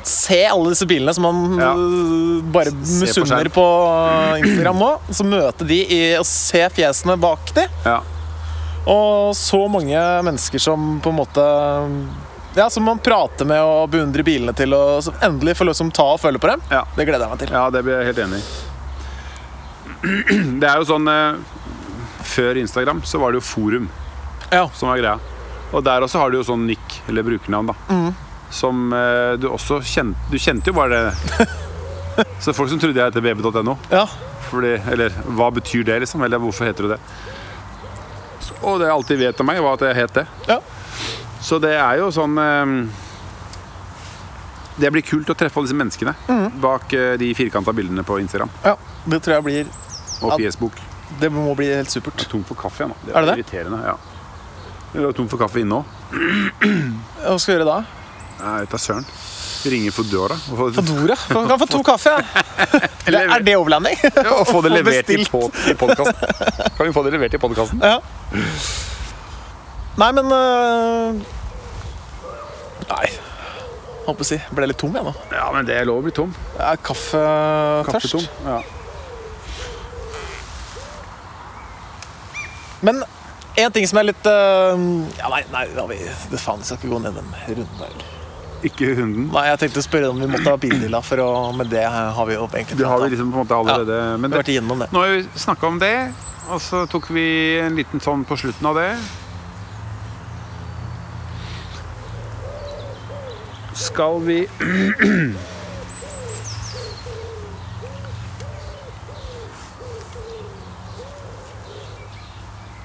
se alle disse bilene som man Ja. eh, bare på skjerm. misunner på, øh, Instagram nå. Så møte de i, og se fjesene bak de. Ja. Og så mange mennesker som på en måte Ja, som man prater med og beundrer bilene til, og som endelig får liksom ta og føle på dem. Ja. Det gleder jeg meg til. Ja, det blir jeg helt enig i. Det er jo sånn eh, Før Instagram så var det jo forum Ja. som var greia. Og der også har du jo sånn nick, eller brukernavn, da. Som eh, du også kjente Du kjente jo bare det. Så folk som trodde jeg het bb.no Ja. fordi, Eller hva betyr det, liksom? Eller hvorfor heter du det? Så, og det jeg alltid vet om meg, var at jeg het det. Ja. Så det er jo sånn eh, Det blir kult å treffe alle disse menneskene Mhm. bak eh, de firkanta bildene på Instagram ja. Det tror jeg blir og Ja. Facebook. Jeg Det må bli helt supert. er tom for kaffe nå. Det Er det det? irriterende. Ja. Jeg er tom for kaffe inne òg. Hva skal vi gjøre da? Nei, vet da søren. Ringer på døra og få, Fodora? Kan kan få to kaffe. ja. Det, er det overlanding? ja, og få det få levert i, bestilt. på, i podkasten. Kan vi få det levert i podkasten? Ja. Nei, men øh, Nei. Holdt på å si. Ble litt tom, jeg nå. Ja, men det er lov å bli tom. Jeg er kaffetørst. Kaffetom. Ja. Men en ting som er litt øh, Ja, nei, nei da, vi, det faen, vi skal ikke gå ned den runden der. Ikke hunden. Nei, jeg tenkte å spørre om vi måtte ha bildilla, for å, men det har vi jo egentlig Det har tatt, vi da. liksom på en måte allerede Men Vi har det, vært igjennom det. nå har vi snakka om det, og så tok vi en liten sånn på slutten av det. Skal vi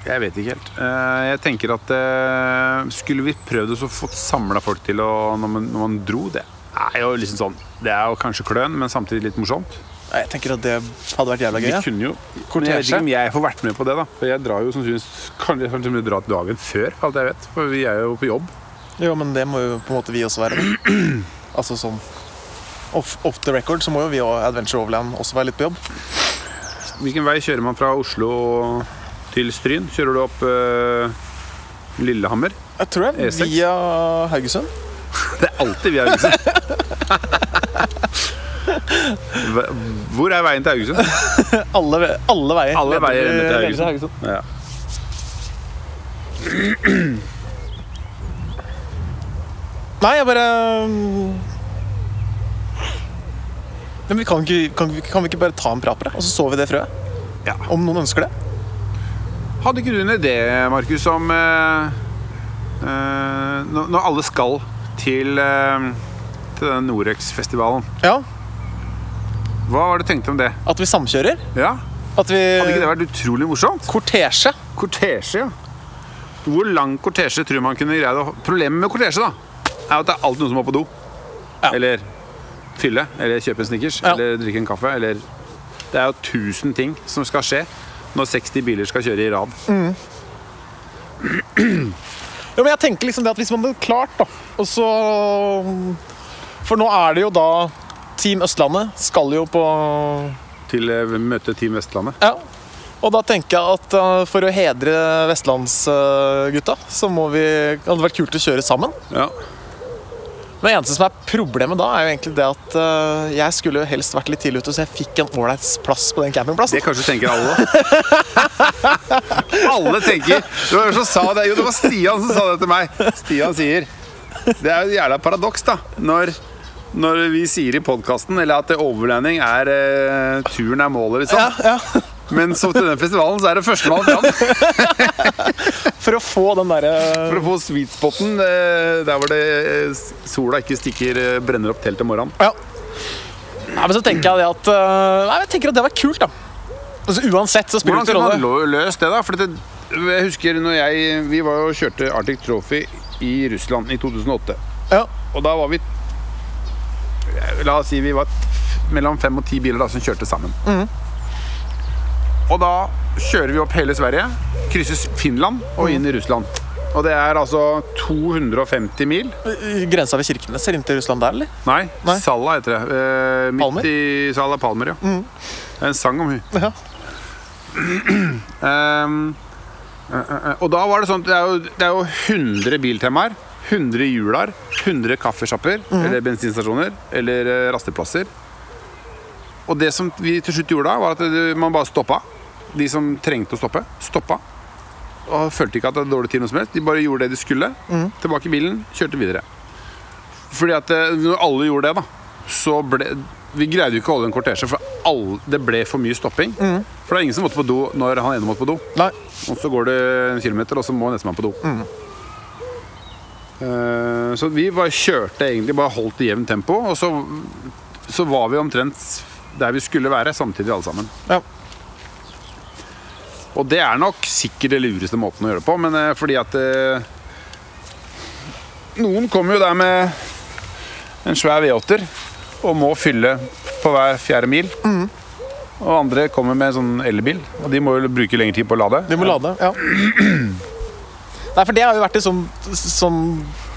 Jeg vet ikke helt. Eh, Jeg tenker at eh, skulle vi prøvd oss å få samla folk til å, når, man, når man dro, det er jo liksom sånn Det er jo kanskje kløn, men samtidig litt morsomt. Nei, Jeg tenker at det hadde vært jævla gøy. liksom- Vi Ja. kunne jo Men Jeg vet Kortesje. ikke om jeg får vært med på det, da. For jeg drar jo sannsynligvis Kanskje kanskje vi drar dagen før, for alt jeg vet. For vi er jo på jobb. Jo, men det må jo på en måte vi også være. da. altså sånn off, off the record så må jo vi og Adventure Overland også være litt på jobb. Hvilken vei kjører man fra Oslo til Stryn? Kjører du opp eh, Lillehammer? Jeg tror jeg E6. via Haugesund. Det er alltid via Haugesund. Hva- Hvor er veien til Haugesund? Alle, ve- alle veier. Alle veier Leder- ender til leder Haugesund. Ja. Nei, jeg bare mm, ja, men vi kan, ikke, kan, vi- kan vi ikke bare ta en prat på det, og så så vi det frøet? Ja. Om noen ønsker det? Hadde ikke du en idé, Markus, om eh, eh, når når alle skal til, eh, til denne Norex-festivalen Ja. Hva var det du tenkte om det? At vi samkjører? Ja, At vi Hadde ikke det vært utrolig morsomt? Kortesje. Kortesje, ja. Hvor lang kortesje tror man kunne greid å Problemet med kortesje da er at det er alltid noen som må på do. Ja. Eller fylle. Eller kjøpe en snickers. Ja. Eller drikke en kaffe. Eller Det er jo 1000 ting som skal skje når 60 biler skal kjøre i rad. Ja, men jeg tenker liksom det at hvis man hadde klart, da Og så um, For nå er det jo da Team Østlandet skal jo på Til eh, møte Team Vestlandet. Ja. Og da tenker jeg at eh, for å hedre vestlandsgutta, så må vi det Hadde vært kult å kjøre sammen. Ja. Men det eneste som er problemet da, er jo egentlig det at eh, jeg skulle jo helst vært litt tidlig ute, så jeg fikk en ålreit plass på den Det campingplassen. kanskje tenker alle. alle tenker Det var, hvem som sa det. Jo, det var Stian som sa det til meg. Stian sier Det er jo et jævla paradoks, da. Når, når vi sier i podkasten at overlanding er eh, turen er målet, liksom. Ja, ja. Men så til den festivalen så er det førstemann fram. For å få den eh, derre For å få sweet spoten eh, der hvor det eh, sola ikke stikker, eh, brenner opp teltet om morgenen. Ja. Nei, men så tenker jeg det at eh, Nei, jeg tenker at det var kult, da. Altså, uansett så spiller Hvordan det kunne ikke man rolle. lo- løst det, da? For det, jeg husker når jeg Vi var og kjørte Arctic Trophy i Russland i 2008. Ja. Og da var vi La oss si vi var mellom fem og ti biler da, som kjørte sammen. Mhm. Og da kjører vi opp hele Sverige, krysser Finland og Mhm. inn i Russland. Og det er altså 250 mil. Grensa ved Kirkenes eller inn til Russland der, eller? Nei, Nei. Salla heter det. Eh, midt Palmer? Mhm. i Salla Palmer, ja. Det er en sang om hun. Ja. Ehm, eh, eh, eh, og da var det sånn at Det er jo, det er jo 100 biltemaer 100 hjular 100 kaffesjapper Mhm. Eller bensinstasjoner Eller eh, rasteplasser Og det som vi til slutt gjorde da Var at det, man bare stoppa De som trengte å stoppe Stoppa Og følte ikke at det var dårlig tid noe som helst De bare gjorde det de skulle Tilbake i bilen Kjørte videre Fordi at eh, når alle gjorde det da Så ble Vi greide jo ikke å holde en kortesje For alle, det ble for mye stopping For det er ingen som måtte på do Når han ene måtte på do Nei. og så går det en kilometer, og så må nestemann på do. Eh, Så vi bare kjørte egentlig, bare holdt i jevnt tempo, og så, så var vi omtrent der vi skulle være samtidig alle sammen. Ja. Og det er nok sikkert det lureste måten å gjøre det på, men eh, fordi at eh, Noen kommer jo der med en svær V8-er og må fylle på hver fjerde mil. Mm. Og andre kommer med en sånn elbil, og de må jo bruke lengre tid på å lade. De må lade, ja. Nei, for det har jo vært en sånn, sånn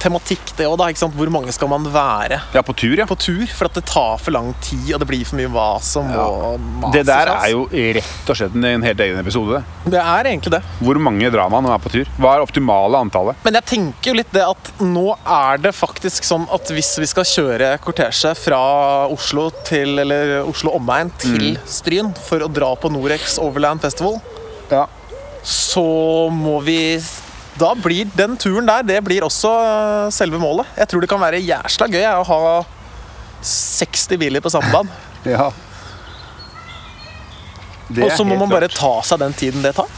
tematikk, det òg, da. Ikke sant? Hvor mange skal man være Ja, på tur, ja. på tur? For at det tar for lang tid, og det blir for mye vas og må mas. Det der ikke sant? er jo rett og slett en en helt egen episode. Det er egentlig det. Hvor mange drar man når man er på tur? Hva er optimale antallet? Men jeg tenker jo litt det at nå er det faktisk sånn at hvis vi skal kjøre kortesje fra Oslo til Eller Oslo omegn til Stryn for å dra på Norex Overland Festival, Ja. så må vi Da blir den turen der Det blir også øh, selve målet. Jeg tror det kan være jæsla gøy jeg, å ha 60 biler på samme dag. Det Og er så må helt man bare klart. ta seg den tiden det tar.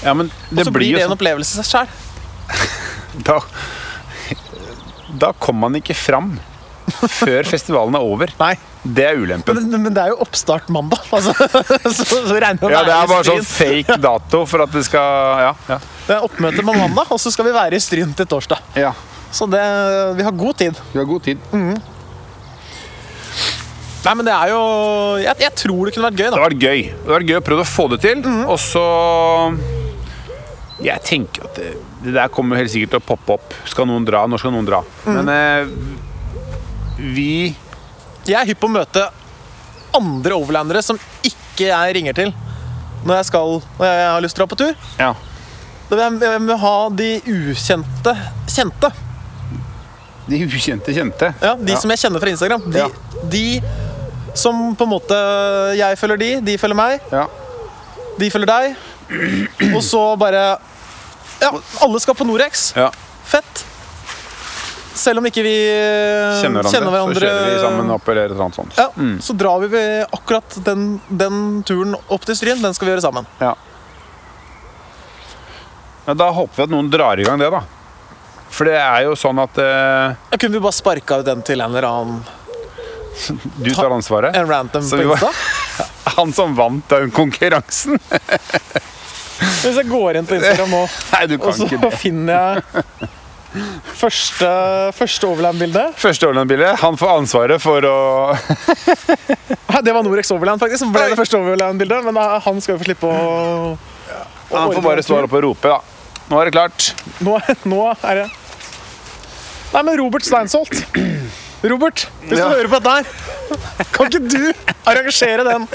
Ja, men Og det så blir det blir jo en sånn opplevelse i seg sjøl. da, da kommer man ikke fram før festivalen er over. Nei. Det er ulempen. Men, men det er jo oppstart mandag. Altså, så, så regner Ja, det være er i bare Stryn. sånn fake dato for at det skal Ja. ja. Det er oppmøte på mandag, og så skal vi være i Stryn til torsdag. ja. Så det, vi har god tid. Mhm. Du har god tid. Nei, men det er jo Jeg, jeg tror det kunne vært gøy, Det da. har vært gøy. Det har vært gøy å prøve å få det til. Mhm. Og så Jeg tenker at det, det der kommer helt sikkert til å poppe opp. Skal noen dra? Når skal noen dra? Mhm. Men eh, vi Jeg er hypp på å møte andre overlandere som ikke jeg ringer til når jeg, skal, når jeg har lyst til å dra på tur. Ja. Da vil jeg, jeg vil ha de ukjente kjente. De ukjente kjente. Ja, de som jeg kjenner fra Instagram. De, Ja. de som på en måte Jeg følger de, de følger meg, Ja. de følger deg. Og så bare Ja, alle skal på Norex. Ja. Fett. Selv om ikke vi eh, Kjenner hverandre, så kjører vi sammen opp eller et eller annet sånt. Ja, Så drar vi ved akkurat den, den turen opp til Stryn. Den skal vi gjøre sammen. Ja. Ja, da håper vi at noen drar i gang det, da. For det er jo sånn at eh, Da kunne vi bare sparka ut den til en eller annen du tar ansvaret. en random Så på vi bare- Insta. Han som vant den konkurransen. Hvis jeg går inn på Instagram nå, Nei, du og kan så ikke det. finner jeg første, første Overland-bildet Første Overland-bildet. Han får ansvaret for å Hæ, Det var Norex Overland, faktisk. som ble det første Overland-bildet. Men eh, han skal jo få slippe å Han får bare stå her oppe og rope, da. Nå er det klart. Nå, nå er det Nei, men Robert Steinsholt. Robert, hvis du Ja. hører på dette her, kan ikke du arrangere den,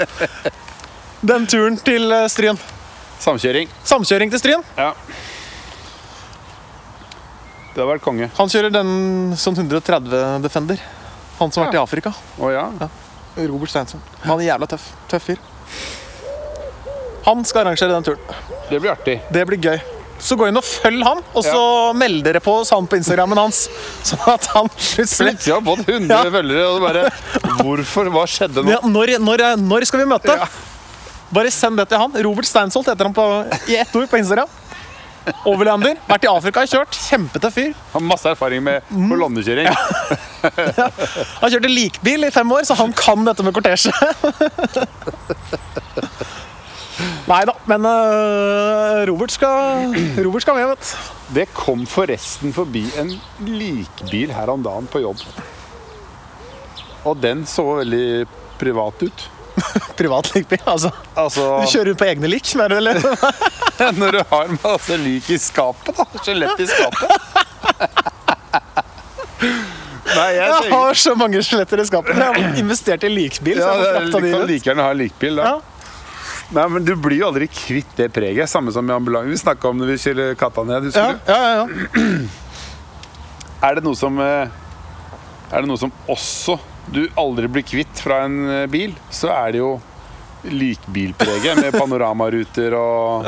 den turen til eh, Stryn? Samkjøring. Samkjøring til Stryn. Ja. Det har vært konge. Han kjører den sånn 130 Defender. Han som har vært i Afrika. Å ja. Robert Steinsholt. Han er jævla tøff. Tøff fyr. Han skal arrangere den turen. Det blir artig. Det blir gøy. Så gå inn og følg han, og så meld dere på oss han på Instagrammen hans. Sånn at han plutselig Plutselig har han fått 100 Ja. følgere, og bare Hvorfor? Hva skjedde nå? Ja, når, når, når skal vi møte? Bare send det til han. Robert Steinsholt heter han på, i ett ord på Instagram. Overlander. Vært i Afrika, kjørt. Kjempetøff fyr. Har masse erfaring med kolonnekjøring. Han kjørte likbil i fem år, så han kan dette med kortesje. Nei da, men øh, Robert, skal, Robert skal med, vet du. Det kom forresten forbi en likbil her om dagen på jobb. Og den så veldig privat ut. Privat likbil, altså. Du Altså kjører rundt på egne lik, mener du? Eller? når du har masse lik i skapet, da. Skjelett i skapet. Nei, jeg Jeg tenker har så mange skjeletter i skapet. Jeg har investert i likbil. så ja, jeg må det er- sånn frakta Du de kan rundt. like gjerne ha likbil, da. Ja. Nei, men Du blir jo aldri kvitt det preget. Samme som i ambulansen. Vi snakka om det vi kjører katta ned. husker Ja, du? ja, ja, ja. Er det noe som eh, Er det noe som også du aldri blir kvitt fra en eh, bil, så er det jo likbilpreget med panoramaruter og,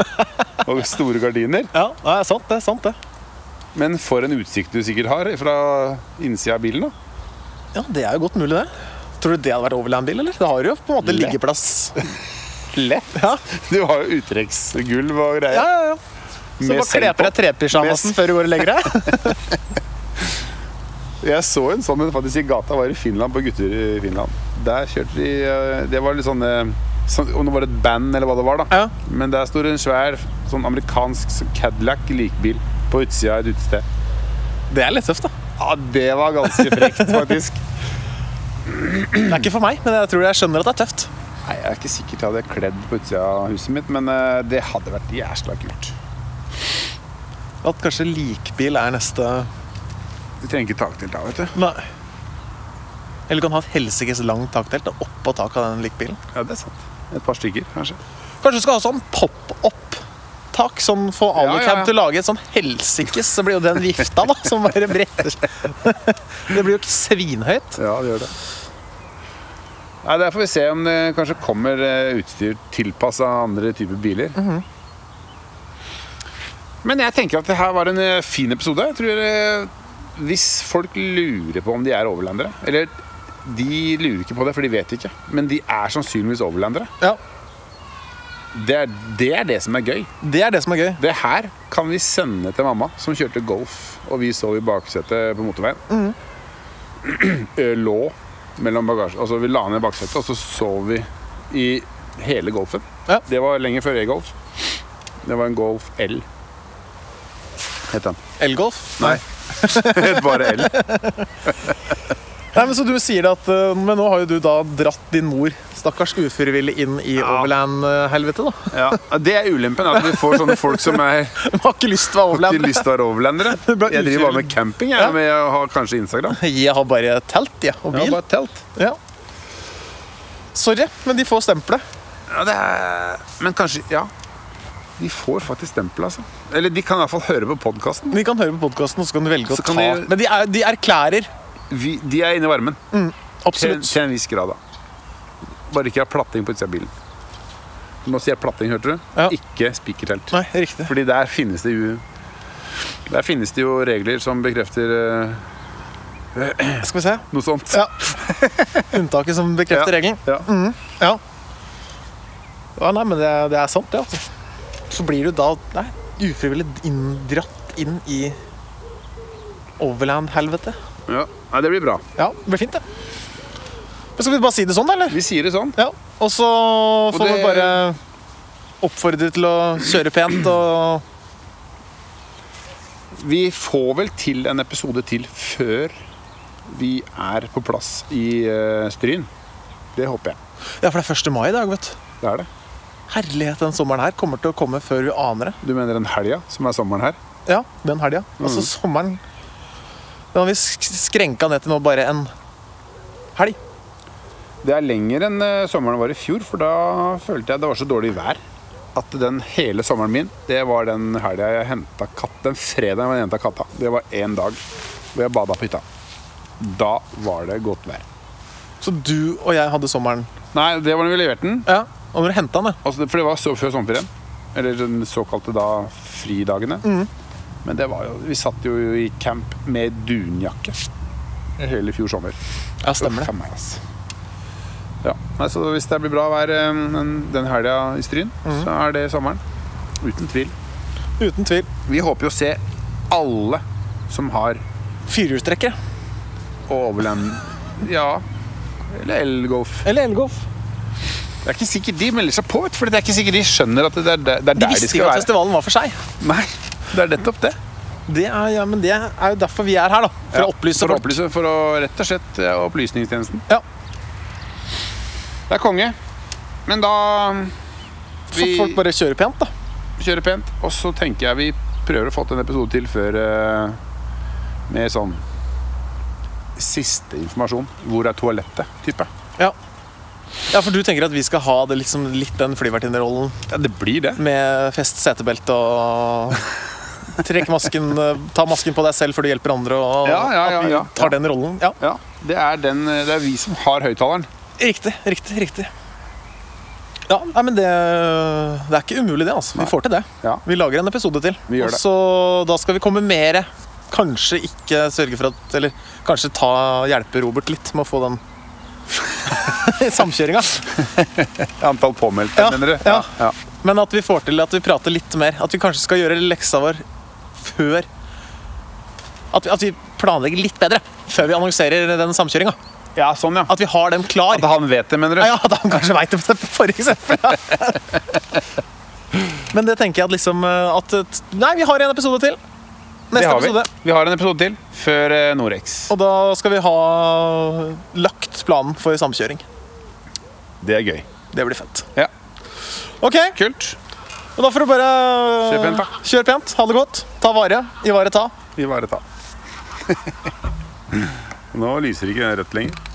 og store gardiner. Ja, det er sant, det. er sant det Men for en utsikt du sikkert har fra innsida av bilen. da Ja, det er jo godt mulig, det. Tror du det hadde vært Overland-bil, eller? Det har jo på en måte Lett. liggeplass. Lett. Ja, Du har jo uttrekksgulv ja, og greier. ja. ja. Så Med bare kle på deg trepysjamasen før du går og legger deg. Jeg så en sånn en faktisk i gata, var i Finland, på gutter i Finland. Der kjørte de eh, Det var litt sånn eh, sånn- Om det var et band eller hva det var, da. Ja. Men der står det en svær sånn amerikansk sånn Cadillac likbil på utsida av et utested. Det er litt tøft, da. Ja, det var ganske frekt, faktisk. Det er ikke for meg, men jeg tror jeg skjønner at det er tøft. Nei, Jeg er ikke sikkert jeg hadde kledd på utsida av huset mitt, men eh, det hadde vært jævla kult. At kanskje likbil er neste Du trenger ikke taktilt da, vet du. Nei. Eller du kan ha et helsikes langt taktelt og oppå taket av den likbilen. Ja, det er sant. Et par stykker, kanskje. Kanskje du skal ha sånn pop-up-tak, sånn for Ja, Alucab ja, ja. til å lage et sånn helsikes, så blir jo den vifta, da, som bare bretter seg. Det blir jo svinhøyt. Ja, det gjør det. Nei, Der får vi se om det kanskje kommer eh, utstyr tilpassa andre typer biler. Men jeg tenker at det her var en eh, fin episode. Jeg tror eh, Hvis folk lurer på om de er overlandere Eller de lurer ikke på det, for de vet ikke. Men de er sannsynligvis overlandere. Ja, Det er det, er det som er gøy. det er det som er gøy. Det her kan vi sende til mamma, som kjørte golf, og vi sov i baksetet på motorveien. Ø, Lå mellom bagasje... Altså, vi la ned baksetet, og så sov vi i hele golfen. Ja. Det var lenge før e-golf. Det var en Golf L. Het den. Elgolf. Nei. Het bare L. Nei, men Så du sier det at eh, Men nå har jo du da dratt din mor, stakkars ufrivillig, inn i Overland-helvete, da. Ja. Det er ulempen, at vi får sånne folk som er Hun har ikke lyst til å være de Overland. lyst til å være overlandere. ble Jeg driver bare ufrivillig. med camping, jeg, men jeg har kanskje Instagram. Jeg har bare telt ja, og Jeg har bil. bare telt. Ja. Sorry, men de får stempelet. Ja, det er... Men kanskje, ja De får faktisk stempel, altså Eller de kan i hvert fall høre på podcasten De kan høre på podkasten, og så kan de velge å Så ta kan de- Men de, er, de erklærer. Vi, De er inne i varmen til, Absolutt. til en viss grad da Bare ikke ha platting på utsida av bilen Nå sier jeg platting, hørte du? Ja. Ikke spikertelt Nei, riktig. Fordi der finnes det jo Der finnes det jo regler som bekrefter eh, Skal vi se. noe sånt Ja. Unntaket som bekrefter regelen. Mm. ja. Ja. ja. Nei, men det, det er sant, det. Altså. Så blir du da nei, ufrivillig inndratt inn i Overland-helvete. Ja. Nei, det blir bra Ja, det blir fint, det. Men skal vi bare si det sånn, eller? Vi sier det sånn Ja. Og så får det- vi bare oppfordre til å kjøre pent og Vi får vel til en episode til før vi er på plass i eh, Stryn. Det håper jeg. Ja, for det er 1. mai i dag, vet du. Det er det. Herlighet, den sommeren her kommer til å komme før vi aner det. Du mener den helga som er sommeren her? Ja, den helga. Altså, sommeren Den har vi sk- skrenka ned til nå bare en helg. Det er lenger enn eh, sommeren var i fjor, for da følte jeg det var så dårlig vær at den hele sommeren min, det var den helga jeg henta katt. Den fredagen jeg henta katta. Det var én dag hvor jeg bada på hytta. Da var det godt vær. Så du og jeg hadde sommeren. Nei, det var da vi leverte den. Ja, Og når du henta den, ja. Altså, for det var så før sommerferien. Eller den såkalte da fridagene. Men det var jo Vi satt jo i camp med dunjakke hele fjor sommer. Ja, stemmer Uff, det. a meg, ass. Ja, nei, så Hvis det blir bra vær eh, den- den helga i Stryn, Mhm. så er det sommeren. Uten tvil. Uten tvil. Vi håper jo å se alle som har Firehjulstrekkere. overland... Ja. Eller elgolf. Eller elgolf. Det er ikke sikkert de melder seg på, vet, du, for det er ikke sikkert de skjønner at det er der det er De der de visste skal jo at være. festivalen var for seg. Nei, det er nettopp det. Det er, ja, men det er jo derfor vi er her, da. For å Ja, opplyse for å folk. opplyse For å rett og slett ja, opplysningstjenesten. Ja. Det er konge. Men da Så Vi folk bare kjører pent, da. kjører pent, og så tenker jeg vi prøver å få til en episode til før eh, med sånn Siste informasjon. Hvor er toalettet? type Ja. ja, for du tenker at vi skal ha det liksom litt den flyvertinnerollen Ja, det blir det. med fest setebelte og Trekk masken, eh, ta masken på deg selv før du hjelper andre. Og Ja, ja, ja, at vi ja. tar den rollen. Ja, Ja, Det er, den, det er vi som har høyttaleren. Riktig, riktig, riktig. Ja, nei, men det, det er ikke umulig, det. altså. Vi får til det. Ja. Vi lager en episode til. Vi gjør og det. så Da skal vi komme mere. Kanskje ikke sørge for at Eller kanskje ta, hjelpe Robert litt med å få den samkjøringa. Antall påmeldte, Ja, mener du? ja. ja. Men at vi får til at vi prater litt mer. At vi kanskje skal gjøre leksa vår før At vi, at vi planlegger litt bedre før vi annonserer den samkjøringa. Ja, sånn, ja. At vi har den klar. At han vet det, mener du? Ja, ja, at han kanskje veit det, for eksempel. Ja. Men det tenker jeg at liksom eh, at, et- Nei, vi har en episode til. det Neste har vi. episode. Vi har en episode til før eh, Norex. Og da skal vi ha lagt planen for samkjøring. Det er gøy. Det blir fett. Ja. Ok, Kult. og da får du bare Kjør pent, da. Kjør pent, Ha det godt. Ta vare. Ivareta. Ivareta. Nå lyser ikke rødt lenger.